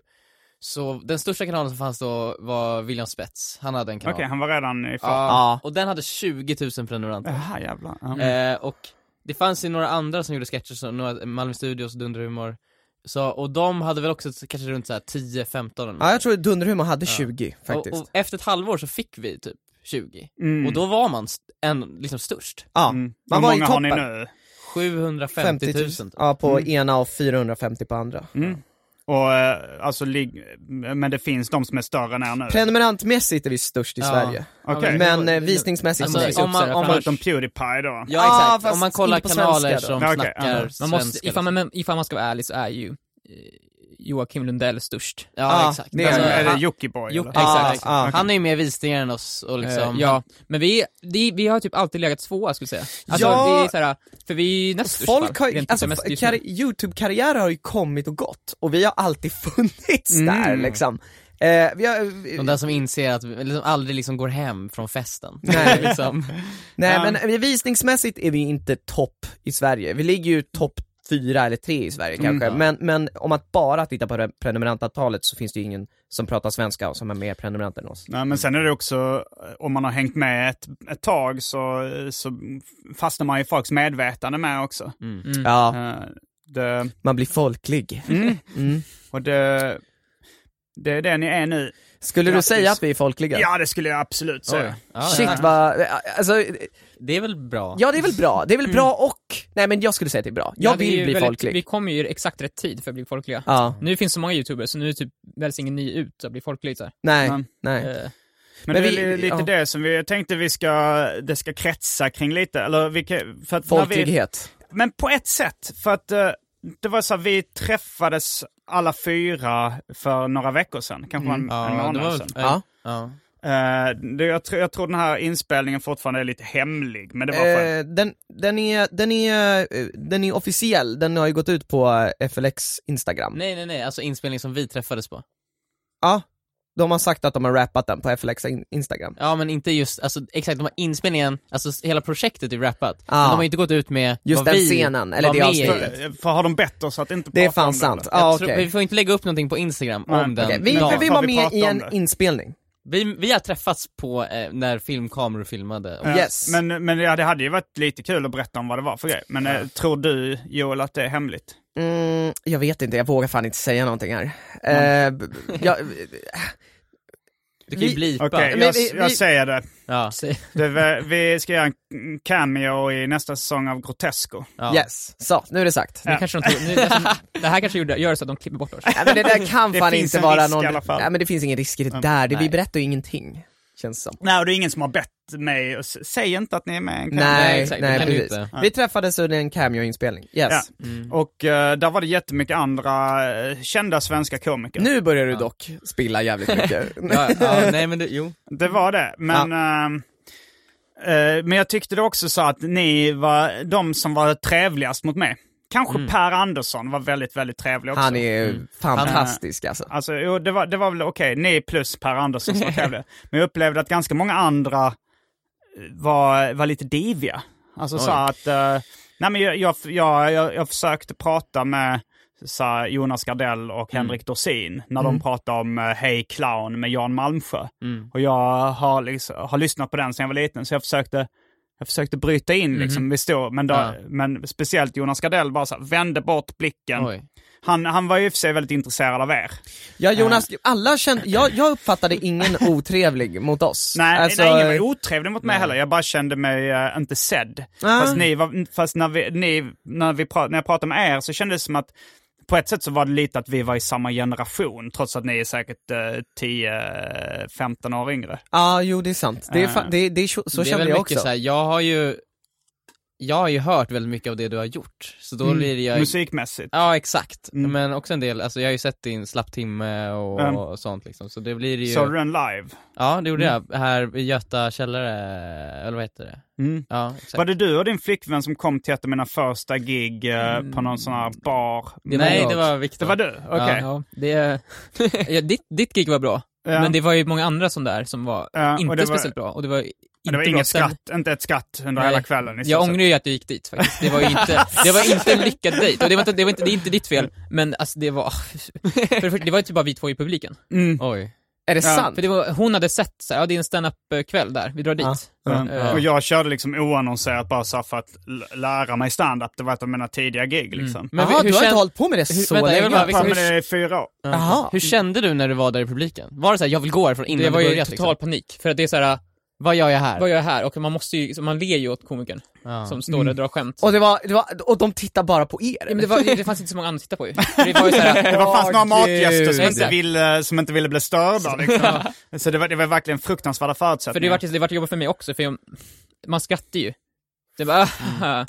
B: så den största kanalen som fanns då var William Spets, han hade en
A: Okej,
B: kanal.
A: han var redan i farten.
B: Ja, och den hade 20 000 prenumeranter.
A: Jaha, jävlar. Ja.
C: Mm.
B: Eh, och det fanns ju några andra som gjorde sketcher, som några Malmö Studios, Dunderhumor, så, och de hade väl också så- kanske runt så här 10-15 eller
C: Ja,
B: något.
C: jag tror Dunderhumor hade 20 faktiskt.
B: och,
D: Mm.
B: och efter ett halvår så fick vi typ 20,
A: Mm.
B: och då var man st- en, liksom störst.
C: ja,
A: Mm.
C: man
A: Hur
C: var i
A: många har ni
C: toppen.
A: nu?
B: 750 000. typ.
C: Ja, på ena och 450 på andra.
A: Och, eh, alltså, lig... Men det finns de som är större än er nu?
C: Prenumerantmässigt är vi störst i
B: Ja.
C: Sverige,
A: Okej,
B: Ja,
C: men eh, visningsmässigt
B: Alltså,
C: så är vi
B: om man, om man,
A: förutom Pewdiepie då?
B: ja,
C: Ah,
B: exakt.
C: fast
B: om man kollar
C: inte på svenska
B: kanaler
C: då.
B: som
A: Ja, okej, ja.
B: snackar
D: Man
B: svenska.
D: måste, ifall,
B: liksom.
D: man, ifall man ska vara ärlig så är ju eh, Joakim Lundell störst.
B: Ja,
C: Ah,
B: exakt.
C: det
A: Är,
B: Alltså,
A: är det
B: han,
A: Jockiboi?
B: Jocke,
A: eller?
C: Ah,
B: exakt. exakt.
C: ah.
B: Han är ju mer visningar än oss och liksom...
D: Eh, ja, men vi, det, vi har typ alltid legat tvåa skulle jag säga. Alltså,
C: Ja.
D: vi är såhär, för vi är näst störst
C: Folk
D: va?
C: har ju,
D: Rent typ
C: alltså,
D: mest just nu.
C: karri- YouTube-karriärer har ju kommit och gått, och vi har alltid funnits
D: Mm.
C: där liksom. Eh, vi har,
B: De där som inser att, vi- liksom aldrig liksom går hem från festen.
C: Nej.
B: liksom.
C: Nej
A: Ja.
D: Mm.
C: men visningsmässigt är vi inte topp i Sverige, vi ligger ju topp fyra eller tre i Sverige kanske,
D: Mm.
C: men, men om att bara titta på det prenumerantantalet så finns det ju ingen som pratar svenska och som har mer prenumeranter än oss.
A: Nej, men sen är det också, eh, om man har hängt med ett, ett tag så, eh, så fastnar man i folks medvetande med också.
D: Mm.
C: Ja,
A: Eh, Det,
C: man blir folklig. Mm.
A: och det, det är det ni är nu.
C: Skulle du
A: Grattis.
C: säga att vi är folkliga?
A: Ja, det skulle jag absolut säga.
B: Ja,
C: Shit
B: ja.
C: vad, alltså,
B: Det är väl bra?
C: ja det är väl bra, det är väl bra och, nej men jag skulle säga att det är bra. Jag
D: Mm. Ja, det är
C: vill
D: ju
C: bli
D: väldigt-
C: folklig.
D: Vi kommer ju i exakt rätt tid för att bli folkliga.
C: Ja,
D: Nu finns så många youtubers, så nu typ väljs ingen ny ut att bli folklig så här.
C: nej,
A: Men-
C: nej.
D: Eh,
A: Men,
C: Men
A: det
C: vi-
A: är li- lite
C: ja.
A: det som vi tänkte vi ska, det ska kretsa kring lite. Eller vi, kan- för att när vi,
C: Folklighet.
A: men på ett sätt, för att eh, det var så här, vi träffades alla fyra för några veckor sedan, kanske
C: Mm.
A: en, en
B: Ja,
A: månad
B: det var,
A: sedan.
C: Ja.
B: ja. Ja.
A: Eh, det, jag, tror, jag tror den här inspelningen fortfarande är lite hemlig, men det var för...
C: Eh, den, den, är, den, är, eh, den är officiell, den har ju gått ut på eh, FLX Instagram.
B: Nej, nej, nej, alltså inspelning som vi träffades på.
C: Ja, de har sagt att de har rappat den på FLX in- Instagram.
B: Ja, men inte just, alltså exakt, de har inspelningen, alltså s- hela projektet är rappat.
C: Ja.
B: Men de har inte gått ut med
C: Ah. Just
B: vad
C: den
B: vi
C: scenen, eller
B: var
C: det
B: med i.
C: avsnittet.
A: för, för har de bett oss att inte
C: Eh, Det är
A: prata om
C: fan
A: det,
C: sant.
A: eller?
B: Jag
C: Ja,
B: tror-
C: okej.
B: Vi får inte lägga upp någonting på Instagram
A: Nej,
B: om den
C: Okej, Vi,
B: dagen.
C: vi
A: Har
C: var
A: vi
C: med
A: pratat
C: i
A: om
C: en
A: det?
C: inspelning.
B: Vi, vi har träffats på eh, när filmkameror filmade.
A: Eh,
C: Yes.
A: Men, men ja, det hade ju varit lite kul att berätta om vad det var för grej. Men eh, tror du, Joel, att det är hemligt?
C: Mm, jag vet inte, jag vågar fan inte säga någonting här. Eh, b- b- jag,
B: Du kan
C: vi-
B: ju blipa.
A: Okej,
C: Men
A: jag,
C: vi- vi-
A: jag säger det.
B: Ja, säg.
A: det vi, vi ska göra en cameo i nästa säsong av Grotesco.
B: Ja.
C: yes, så, nu är det sagt.
D: nu kanske de tog, nu, alltså, det här kanske gjorde, gör så att de klipper bort oss.
C: Nej, men det där kan
A: Det
C: fan
A: finns
C: inte
A: en
C: vara
A: risk i
C: någon...
A: alla fall.
C: Nej men det finns ingen risk i det där, det, vi
B: nej.
C: berättar ju ingenting. Känns som.
A: Nej, och det är ingen som har bett mig. att s- Säg inte att ni är med i en cameo.
B: Nej,
C: Nej,
B: exakt, det
C: nej
B: kan du
C: precis.
B: inte.
C: Vi träffades under en cameo-inspelning, yes.
A: Ja.
C: Mm.
A: Och eh, där var det jättemycket andra eh, kända svenska komiker.
C: Nu börjar du dock spilla jävligt mycket.
B: Ja, ja, nej men det, jo.
A: Det var det, men... ehm, eh, men jag tyckte det också så att ni var de som var trevligast mot mig. Kanske Per Andersson var väldigt, väldigt trevlig också.
C: Mm. Han är fantastisk alltså.
A: Alltså, jo, det var, det var väl okej, ni plus Per Andersson som var trevliga. Men jag upplevde att ganska många andra eh, var, var lite diviga. Alltså så att, eh, nej men jag, jag, jag, jag, jag försökte prata med så här, Jonas Gardell och
B: Mm.
A: Henrik Dorsin när de pratade om eh, Hej clown med Jan Malmsjö.
B: Mm.
A: Och jag har, liksom, har lyssnat på den sedan jag var liten så jag försökte jag försökte bryta in liksom, vi stod, men, då,
B: Mhm. Ja.
A: men speciellt Jonas Gardell bara så här, vände bort blicken.
B: Oj.
A: Han, han var ju i och för sig väldigt intresserad av er.
C: Ja Jonas, alla kände, jag, jag uppfattade ingen otrevlig mot oss.
A: Nej,
C: Alltså,
A: nej ingen var otrevlig mot mig heller. Jag bara kände mig eh, inte sedd. Fast, ni var, fast när, vi, ni, när, vi pra, när jag pratade med er så kändes det som att på ett sätt så var det lite att vi var i samma generation, trots att ni är säkert eh, 10-15 år yngre.
C: Ja, jo det är sant. Det är, fa-
A: Eh.
C: det, det är så, så
B: det är
C: kände
B: väl
C: jag
B: mycket
C: också.
B: så här, jag har ju, jag har ju hört väldigt mycket av det du har gjort, så då blir jag
A: Mm. Musikmässigt.
B: Ja exakt,
A: Mm.
B: men också en del, alltså jag har ju sett din Slapp timme och,
A: Mm.
B: och sånt liksom, så det blir ju
A: Såg du den live?
B: Ja det gjorde jag, här i Göta källare, eller vad heter det?
A: Mm.
B: Ja exakt
A: Var det du och din flickvän som kom till ett av mina första gig eh, på någon sån här bar?
D: Det var
B: Mm. Nej
D: jag.
B: det var
A: Det
B: Viktor
A: var du? Okej.
D: Ja, det, ja, ditt, ditt gig var bra,
A: Ja.
D: men det var ju många andra som där som var
A: Ja, och
D: inte
A: det var-
D: speciellt bra, och det var inte
A: Men det var
D: bra
A: inget
D: stämning.
A: skratt, inte ett skratt under
D: Nej.
A: hela kvällen. i
D: Jag
A: stort sett.
D: ångrar ju att du gick dit faktiskt. Det var ju inte, det var inte en lyckad dejt. Och det, var inte, det, var inte, det är inte ditt fel, men alltså det var... För det, första, det var ju typ bara vi två i publiken.
A: Mm.
B: Oj
C: Är det
A: Ja.
C: sant?
D: För det var, hon hade sett så här, ja det är en stand-up-kväll där, vi drar dit.
C: Ja.
A: Mm.
D: Ja.
A: Och jag körde liksom oannonserat bara så här för att l- lära mig stand-up. Det var ett av mina tidiga gig liksom.
B: Men
C: Jaha,
B: hur
C: du har inte
B: kän-
C: hållit på med det
B: hur-
C: så
B: vänta, jag
C: länge?
B: vill bara-
A: Ja,
B: liksom,
A: men
B: hur-
A: det är fyra år.
B: Ja.
C: Jaha.
B: Hur kände du när du var där i publiken? Var det såhär, jag vill gå härifrån innan
D: Det var
B: du
D: ju
B: börjat,
D: total
B: liksom?
D: panik, för att det är så här,
B: Vad gör jag här?
D: vad gör jag här? Och man måste ju, så man ler ju åt komikern
B: Ja.
D: som står där
A: Mm.
D: och drar skämt.
C: Och, det var, det var, och de tittar bara på er?
D: Ja, men det, var, det fanns inte så många andra att titta på ju. För Det var ju så här,
A: Det var fanns några matgäster som inte,
D: Exakt.
A: ville, som inte ville bli störda liksom. Så det var, det var verkligen fruktansvärda
D: För det typ-
A: förutsättningar.
D: vart det vart jobbigt för mig också, för jag, man skrattar ju. Det bara, "Ah,
B: Mm.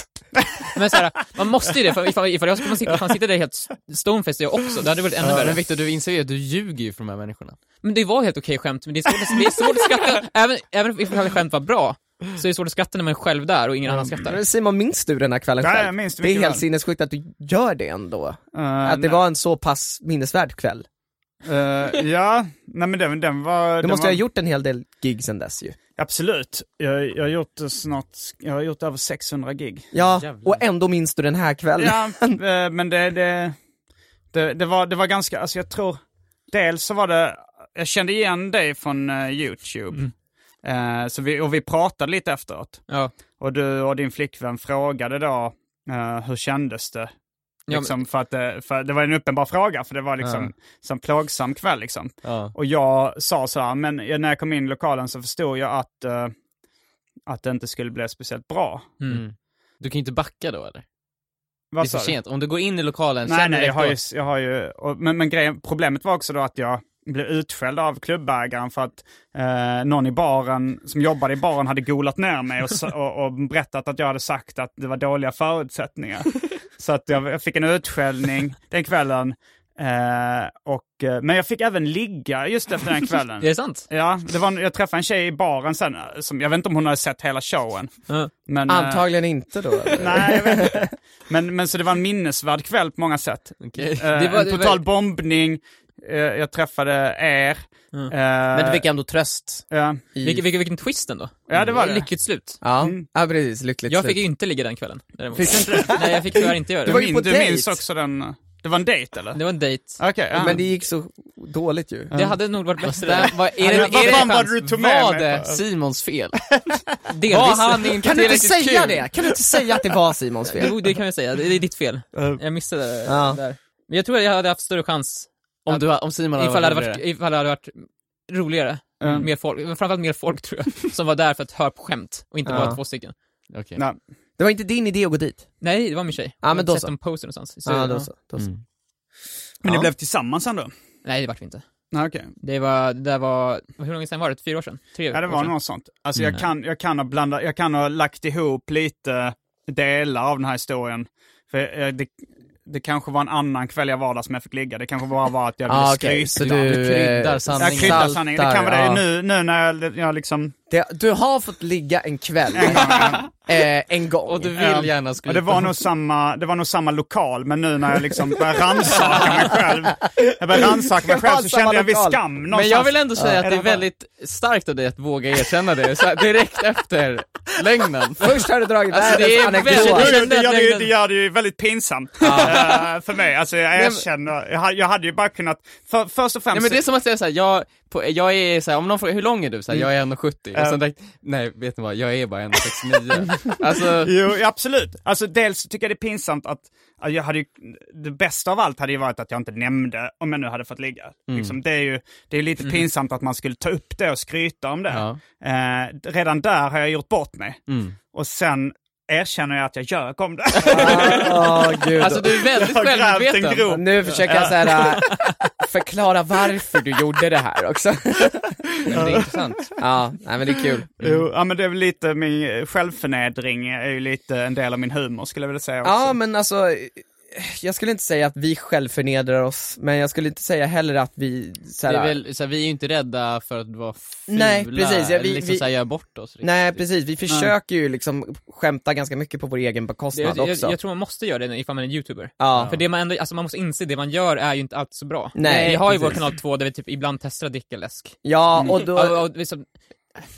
D: Men såhär, man måste ju det, för ifall, ifall jag skulle sitta, ifall sitta där helt s- stonefaced jag också, det hade varit ännu
B: Men
D: värre.
B: Viktor du inser ju att du ljuger ju för de här människorna
D: Men det var helt okej skämt, men det är svårt, att- det är svårt att skratta, även, även ifall alla skämt var bra, så är det svårt att skratta när man är själv där och ingen annan
B: Mm,
D: skrattar.
C: Men Simon, minns du den här kvällen
A: Ja,
C: själv?
A: jag minns det
C: det är
A: mycket
C: helt
A: väl.
C: sinnessjukt att du gör det ändå.
A: Eh,
C: Att det var en så pass minnesvärd kväll.
A: eh, ja, nej men den, den var...
C: Du
A: den
C: måste
A: var,
C: ha gjort en hel del gig sen dess ju.
A: Absolut. Jag, jag, har gjort eh, snart, jag har gjort över 600 gig.
C: Ja,
B: Jävlar.
C: och ändå minns du den här kvällen.
A: Ja, eh, men det, det, det, det, var, det var ganska, alltså jag tror, dels så var det, jag kände igen dig från eh, YouTube.
B: Mm.
A: Eh, så vi, och vi pratade lite efteråt.
D: Ja.
A: Och du och din flickvän frågade då, eh, hur kändes det?
D: men-
A: Liksom, för, att, det- för det var en uppenbar fråga, för det var liksom
B: Ja.
A: så en plågsam kväll liksom.
B: Ja,
A: Och jag sa så här, men när jag kom in i lokalen så förstod jag att, eh, att det inte skulle bli speciellt bra.
B: mm. Du kan ju inte backa då eller?
A: Vad
B: det är
A: sa
B: för
A: du?
B: sent, om du går in i lokalen,
A: Nej,
B: känner
A: nej,
B: direkt
A: jag har
B: då-
A: ju, jag har ju och, men, men grejen, problemet var också då att jag blev utskälld av klubbägaren för att eh, någon i baren, som jobbade i baren, hade golat ner mig och, sa- och, och berättat att jag hade sagt att det var dåliga förutsättningar. Så att jag, jag fick en utskällning den kvällen. Eh, och, eh, men jag fick även ligga just efter den kvällen.
D: Är det sant?
A: Ja, det var, en- jag träffade en tjej i baren sen, eh, som, jag vet inte om hon hade sett hela showen.
D: Ja.
A: Men, eh,
C: Antagligen inte då. eller?
A: Nej, jag vet inte. Men, men så det var en minnesvärd kväll på många sätt.
B: Okej.
A: Eh,
D: Det var-
A: en
D: det var-
A: total bombning, eh, jag träffade er. Eh,
D: Mm.
C: Men du fick ändå tröst.
A: ja.
C: I...
D: Vilken, vilken, vilken twist ändå.
A: ja, det var
B: Mm.
A: det.
D: Lyckligt slut.
C: Ja. ja, precis. Lyckligt
D: Jag fick
C: slut.
D: ju inte ligga den kvällen, däremot.
C: Fick du inte?
D: Nej, jag fick tyvärr inte göra
A: Du,
C: var
D: det.
C: ju
A: min,
C: på
A: du
C: dejt.
A: minns också den, eh, det var en dejt eller?
D: Det var en dejt.
A: Okej, ja.
C: Men det gick så dåligt ju.
D: Det hade nog varit bättre. Vad
B: Är det,
A: Ja,
B: är
A: vad
B: det,
A: fan var
B: chans?
A: det du tog med
B: var
A: mig
B: det
A: på?
B: Simons fel?
D: Delvis.
B: Var han inte
C: Kan du inte
B: tillräckligt
C: säga
B: kul?
C: det? Kan du inte säga att det var Simons fel?
D: Jo, det kan jag säga. Det är ditt fel. Jag missade det
C: Ja.
D: där. Men jag tror att jag hade haft större chans
B: Om, du, om Simon hade
D: ifall det hade varit,
B: roligare.
D: ifall det hade varit roligare.
A: Mm.
D: Mer folk, men framförallt mer folk tror jag, som var där för att höra på skämt och inte
C: Ja.
D: bara två stycken.
B: Okej.
A: Nej.
C: Det var inte din idé att gå dit?
D: Nej, det var min tjej.
C: Ja,
D: Jag
C: men
D: hade
C: då
D: sett
C: så.
D: dem poster någonstans. Så,
C: Ja,
D: ja.
C: då så. Då så.
B: Mm.
A: Men ni
C: Ja.
A: blev tillsammans ändå?
D: Nej, det vart vi inte.
A: Nej, okej.
D: Det var, det där var, hur länge sedan var det? Fyra år sedan? Tre
A: Ja, det
D: år
A: var
D: sedan.
A: något sånt. Alltså
C: Mm.
A: jag kan, jag, kan ha blandat, jag kan ha lagt ihop lite delar av den här historien. För eh, det, det kanske var en annan kväll jag var där som jag fick ligga. Det kanske bara var att jag ville
C: Ah, okej,
A: skryta.
C: så du,
B: Du kryddar
C: eh,
B: sanningen.
A: Jag kryddar sanningen. Det kan vara det
C: ja.
A: nu, nu när jag, jag liksom...
C: Det, du har fått ligga en kväll, eh, en gång.
B: Och du vill
A: Ja.
B: gärna
A: Ja,
B: skryta.
A: det, var nog samma, det var nog samma lokal, men nu när jag liksom började rannsaka mig själv, jag började rannsaka mig
C: Det var
A: själv så
C: samma
A: kände jag vid
C: lokal.
A: skam
B: Men
A: någonstans.
B: jag vill ändå säga att det
A: Eller
B: är
A: vad?
B: väldigt starkt av dig att våga erkänna det så här, direkt efter lögnen.
C: Först har du dragit
B: Alltså, det är
C: världens
B: väldigt-
C: anekdot.
A: Jo, jo,
B: kände
A: det,
B: att
A: gör det, ju-
B: lögnen-
A: det gör det ju väldigt pinsamt eh, för mig. Alltså jag erkänner, jag, ha- jag hade ju bara kunnat, för, först och främst...
B: Nej, men det är som att säga såhär, jag, på, jag är såhär, om någon frågar hur lång är du? Såhär,
C: Mm.
B: jag är 1,70. Och sen direkt, nej vet ni vad, jag är bara 1,69. alltså,
A: Jo, absolut. Alltså dels tycker jag det är pinsamt att, att jag hade ju, det bästa av allt hade ju varit att jag inte nämnde om jag nu hade fått ligga.
B: Mm.
A: Liksom, det är ju det är lite pinsamt att man skulle ta upp det och skryta om det.
B: Ja. Mm.
A: Eh, redan där har jag gjort bort mig. Och sen
E: erkänner jag att jag ljög om det.
C: Ah, åh, gud.
D: Alltså du är väldigt
E: Jag har grävt en
D: självmedveten.
E: grop.
C: nu försöker jag så här, äh, förklara varför du gjorde det här också.
D: Men det är intressant.
C: ja, nej, men det är kul.
A: Jo, ja, men det är väl lite min eh, självförnedring, är ju lite en del av min humor skulle jag vilja säga också.
C: Ja, men alltså, jag skulle inte säga att vi självförnedrar oss, men jag skulle inte säga heller att vi så
B: Det
C: här,
B: är väl, så här, vi är ju inte rädda för att vara fula,
C: Nej, precis. Ja, vi-
B: eller liksom
C: vi-
B: så här, göra bort oss. riktigt.
C: Nej precis, vi försöker ju liksom skämta ganska mycket på vår egen
D: Det,
C: bekostnad
D: jag, jag,
C: också.
D: jag tror man måste göra det nu ifall man är youtuber.
C: ja.
D: För det man ändå, alltså man måste inse, det man gör är ju inte alltid så bra.
C: Nej,
D: vi har ju vår
C: precis.
D: kanal 2 där vi typ ibland testar drickeläsk.
B: Mm.
C: ja, och då,
D: Och, och, liksom,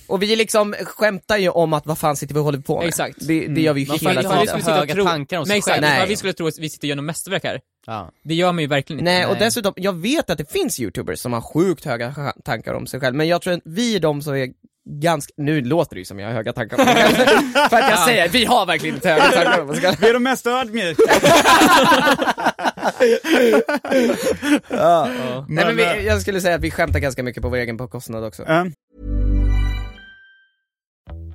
C: Och vi liksom skämtar ju om att vad fan sitter vi och håller på med?
D: Exakt.
C: Det, det gör vi ju
B: Mm. Man får
C: hela
B: inte ha
D: vi
C: tiden.
D: skulle
B: så
D: sitta och
B: höga
D: tro-
B: tankar om sig
D: nej, exakt,
B: själv.
C: Nej.
D: Ifall vi skulle tro att vi sitter och gör något mästerverk här,
B: Ja.
D: det gör man ju verkligen inte.
C: Nej, och
B: Nej.
C: dessutom, jag vet att det finns youtubers som har sjukt höga sch- tankar om sig själv, men jag tror att vi är de som är ganska, nu låter det ju som jag har höga tankar om mig själv, för att jag säger, vi har verkligen inte höga tankar om oss själva.
A: Vi är de mest ödmjuka.
C: Nej men
A: Men,
C: vi, jag skulle säga att vi skämtar ganska mycket på vår egen bekostnad också.
A: eh,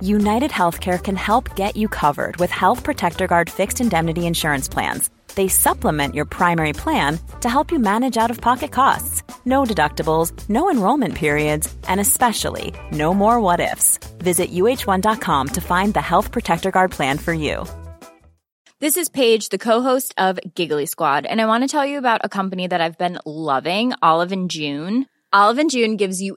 F: United Healthcare can help get you covered with Health Protector Guard fixed indemnity insurance plans. They supplement your primary plan to help you manage out of pocket costs. No deductibles, no enrollment periods, and especially no more what ifs. Visit uh1.com to find the Health Protector Guard plan for you.
G: This is Paige, the co-host of Giggly Squad, and I want to tell you about a company that I've been loving, Olive and June. Olive and June gives you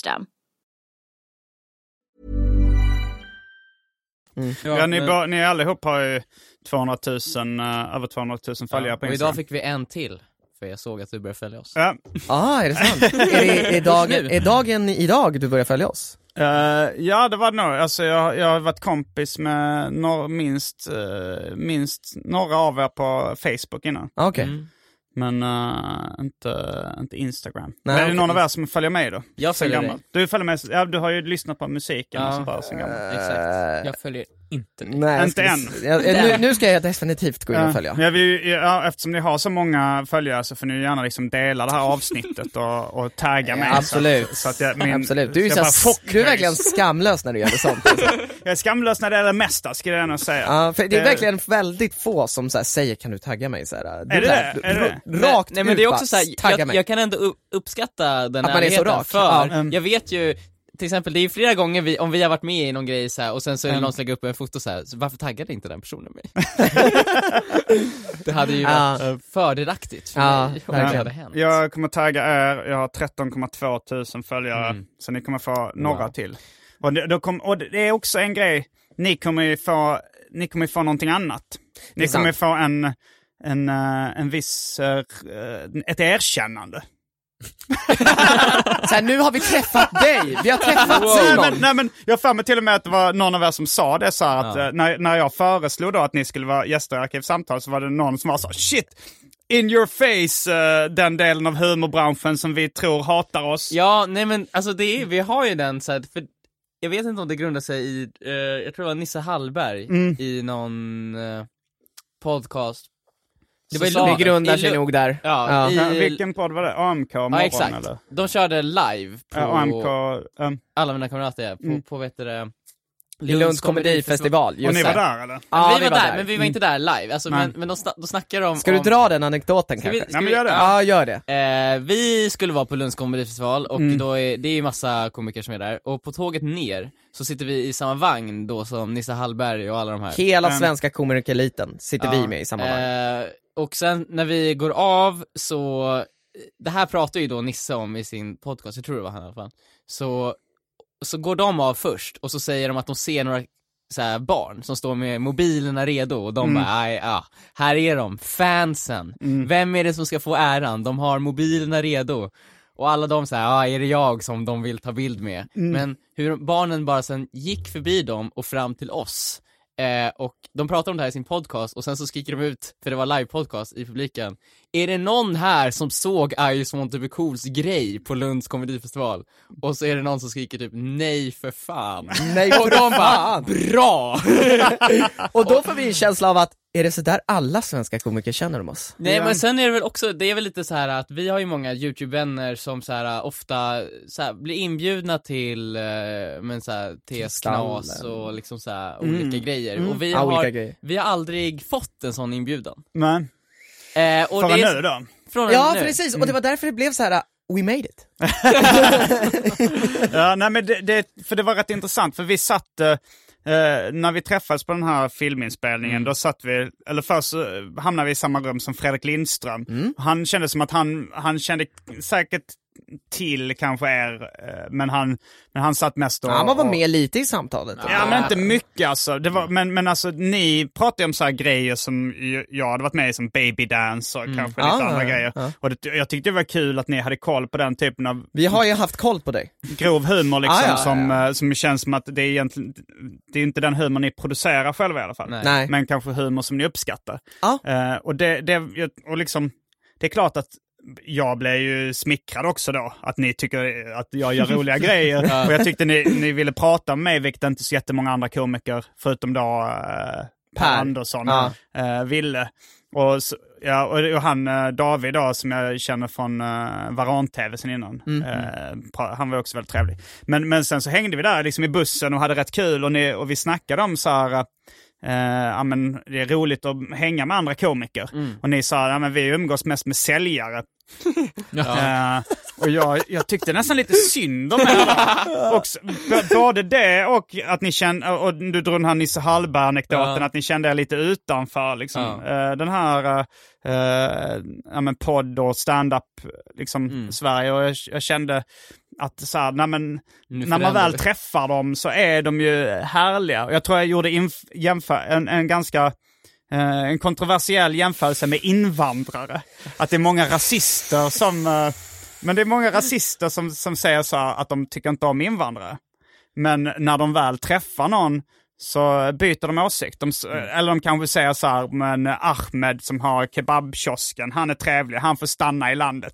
A: ja, ni,
B: men-
A: bo- ni allihop har ju 200 000, eh, över 200 000 följare på Instagram.
B: Och idag fick vi en till, för jag såg att du började följa oss.
A: Ja.
C: Ah, är det sant? är, det, är, dagen, är dagen idag du börjar följa oss?
A: Eh, ja, det var det nog. Alltså, jag, jag har varit kompis med nor- minst, eh, minst några av er på Facebook innan.
C: Ah, Okej.
B: Mm.
A: Men eh, inte, inte Instagram.
C: Nej,
A: Men är det
C: okej.
A: någon av er som följer mig då?
B: Jag
A: Sen
B: följer dig.
A: gammalt. Du följer mig, ja, du har ju lyssnat på musiken och
B: Ja.
A: sånt där sen gammalt.
D: exakt. Jag följer inte dig.
C: Nej, jag
A: Inte
C: skulle
A: än.
C: s- jag- nu, nu ska jag definitivt gå in och följa.
A: Ja, men jag vill ju, ja, eftersom ni har så många följare så får ni ju gärna liksom dela det här avsnittet och, och tagga mig.
C: Ja, absolut.
A: Så, att- så att jag, min,
C: Absolut, du är,
A: jag,
C: så
A: bara
C: här, s-
A: chock,
C: du är verkligen skamlös när du gör det sånt. Alltså.
A: jag är skamlös när det är det mesta, skulle jag nog säga.
C: Ja, för det är
A: Eh,
C: verkligen väldigt få som så här säger kan du tagga mig? Så här, du
A: det
C: så här,
A: det? Är
C: r-
A: det
C: Rakt
B: nej, men det är också så här,
C: tagga
B: jag,
C: mig.
B: jag kan ändå u- uppskatta den
C: Att man är så
B: ärligheten
C: rak.
B: för
A: Ja, mm.
B: jag vet ju till exempel, det är ju flera gånger vi, om vi har varit med i någon grej så här, och sen så
C: Mm.
B: är det någon som lägger upp en foto så här, så varför taggade inte den personen mig? det hade ju
C: Ja.
B: varit fördelaktigt för
C: Ja,
B: mig om det
C: verkligen.
B: hade hänt.
A: Jag kommer tagga er, jag har 13,2 tusen följare,
C: Mm.
A: så ni kommer få några till. Och det, då kom, och det är också en grej, ni kommer ju få, ni kommer ju få någonting annat. Ni
C: Det är
A: kommer ju få en, en, eh, en viss, eh, eh, ett erkännande.
C: så här, nu har vi träffat dig, vi har träffat
A: Nej
C: Simon.
A: men, nej men jag har för mig till och med att det var någon av er som sa det så här att eh, när, när jag föreslog då att ni skulle vara gäster i Arkivsamtal så var det någon som var så här, shit, in your face, eh, den delen av humorbranschen som vi tror hatar oss.
B: Ja, nej men alltså det är, vi har ju den så här, för jag vet inte om det grundar sig i, eh, jag tror det var Nisse Hallberg
C: Mm.
B: i någon eh, podcast.
C: Det,
B: Så
C: var, ju-
B: sa-
C: det grundar
B: i
C: sig
B: Lu-
C: nog där.
B: Ja,
C: Ja.
B: i-
A: Ja, Eh, vilken podd var det? AMK morgon
B: Ja exakt,
A: eller?
B: de körde live på
A: Ja, AMK, ehm, Mm.
B: alla mina kamrater på, på vet du det,
C: Lunds komedifestival,
A: Och
C: just
A: ni var
C: det.
A: där eller?
C: Ja,
B: vi var där, men vi var inte där live, alltså, men,
A: Nej.
B: men de, sna- de snackar om...
C: Ska du
B: om...
C: dra den anekdoten
B: Ska vi-
C: kanske?
B: ska
A: Nej, men
B: vi-
A: gör det.
C: Ja, gör det.
B: Eh, vi skulle vara på Lunds komedifestival och
A: Mm.
B: då är, det är ju massa komiker som är där, och på tåget ner så sitter vi i samma vagn då som Nissa Hallberg och alla de här.
C: Hela
A: Men-
C: svenska komikereliten sitter
B: Ja.
C: vi med i samma vagn.
B: Eh, och sen när vi går av så, det här pratar ju då Nisse om i sin podcast, jag tror det var han i alla fall. Så, så går de av först och så säger de att de ser några så här, barn som står med mobilerna redo och de bara, aj, ja, här är de, fansen. Vem är det som ska få äran? De har mobilerna redo. Och alla de så här, ah, är det jag som de vill ta bild med? Men hur barnen bara sen gick förbi dem och fram till oss. Eh, och de pratar om det här i sin podcast och sen så skriker de ut, för det var live-podcast i publiken. Är det någon här som såg I just want to be cools grej på Lunds komedifestival? Och så är det någon som skriker typ nej för fan.
C: Nej,
B: och de bara bra!
C: Och då får vi en känsla av att, är det så där alla svenska komiker känner om oss?
B: Nej men sen är det väl också, det är väl lite så här att vi har ju många YouTube-vänner som så här uh, ofta så här, blir inbjudna till, eh, men så här, TS Knas
C: Kristallen.
B: och liksom så här, olika Mm. Ah, grejer. Och vi
C: Ja, olika
B: har,
C: grejer.
B: vi har aldrig fått en sån inbjudan.
A: Nej.
B: Eh, och
A: Förrän
B: det är,
A: nu då?
B: Från och
C: Ja, Mm.
B: med nu.
C: precis, och det var därför det blev så här. uh, We made it.
A: Ja, nej, men det, det, för det var rätt intressant, för vi satt, eh, eh, när vi träffades på den här filminspelningen,
C: Mm.
A: då satt vi, eller först eh, hamnade vi i samma rum som Fredrik Lindström.
C: Mm.
A: Han kände som att han, han kände säkert till kanske er, eh, men han, men han satt mest och...
C: Ja, man var
A: och-
C: med lite i samtalet.
A: Ja men inte mycket alltså. Det var, men, men alltså ni pratade ju om så här grejer som ju- jag hade varit med i som Baby Dance och kanske lite
C: Ah,
A: andra
C: ja,
A: grejer.
C: ja.
A: Och det, jag tyckte det var kul att ni hade koll på den typen av
C: Vi har ju haft koll på dig.
A: grov humor liksom
C: Ah, ja, ja,
A: som,
C: ja.
A: eh, som känns som att det är egentligen, det är inte den humor ni producerar själva i alla fall.
C: Nej.
A: Men kanske humor som ni uppskattar.
C: Ja.
A: Eh, och det, det, och liksom, det är klart att jag blev ju smickrad också då, att ni tycker att jag gör roliga grejer. Och jag tyckte ni, ni ville prata med mig, vilket inte så jättemånga andra komiker, förutom då eh, Per
C: Per.
A: Andersson,
C: Ja.
A: eh, ville. Och, så, ja, och och han eh, David då, som jag känner från eh, Varan-TV sen innan, eh, pra- han var också väldigt trevlig. Men, men sen så hängde vi där liksom i bussen och hade rätt kul och, ni, och vi snackade om så här, eh, Eh, ja, men det är roligt att hänga med andra komiker. Och ni sa, ja, men vi umgås mest med säljare. Eh, och jag, jag tyckte nästan lite synd om er. Också, b- både det och att ni kände, och och du drog den här Nisse Hallberg-anekdoten,
B: Ja.
A: att ni kände er lite utanför. Liksom. Eh, den här eh, eh, ja, men podd och stand-up liksom,
B: Mm.
A: Sverige. Och jag, jag kände att så här, nej, men, när man
B: förändrar
A: väl
B: vi.
A: träffar dem så är de ju härliga. Och Jag tror jag gjorde inf- jämför- en, en ganska eh, en kontroversiell jämförelse med invandrare. Att det är många rasister som... eh, Men det är många rasister som, som säger så här att de tycker inte om invandrare. Men när de väl träffar någon så byter de åsikt. De, s- Eller de kanske säger så här, men Ahmed som har kebabkiosken, han är trevlig, han får stanna i landet.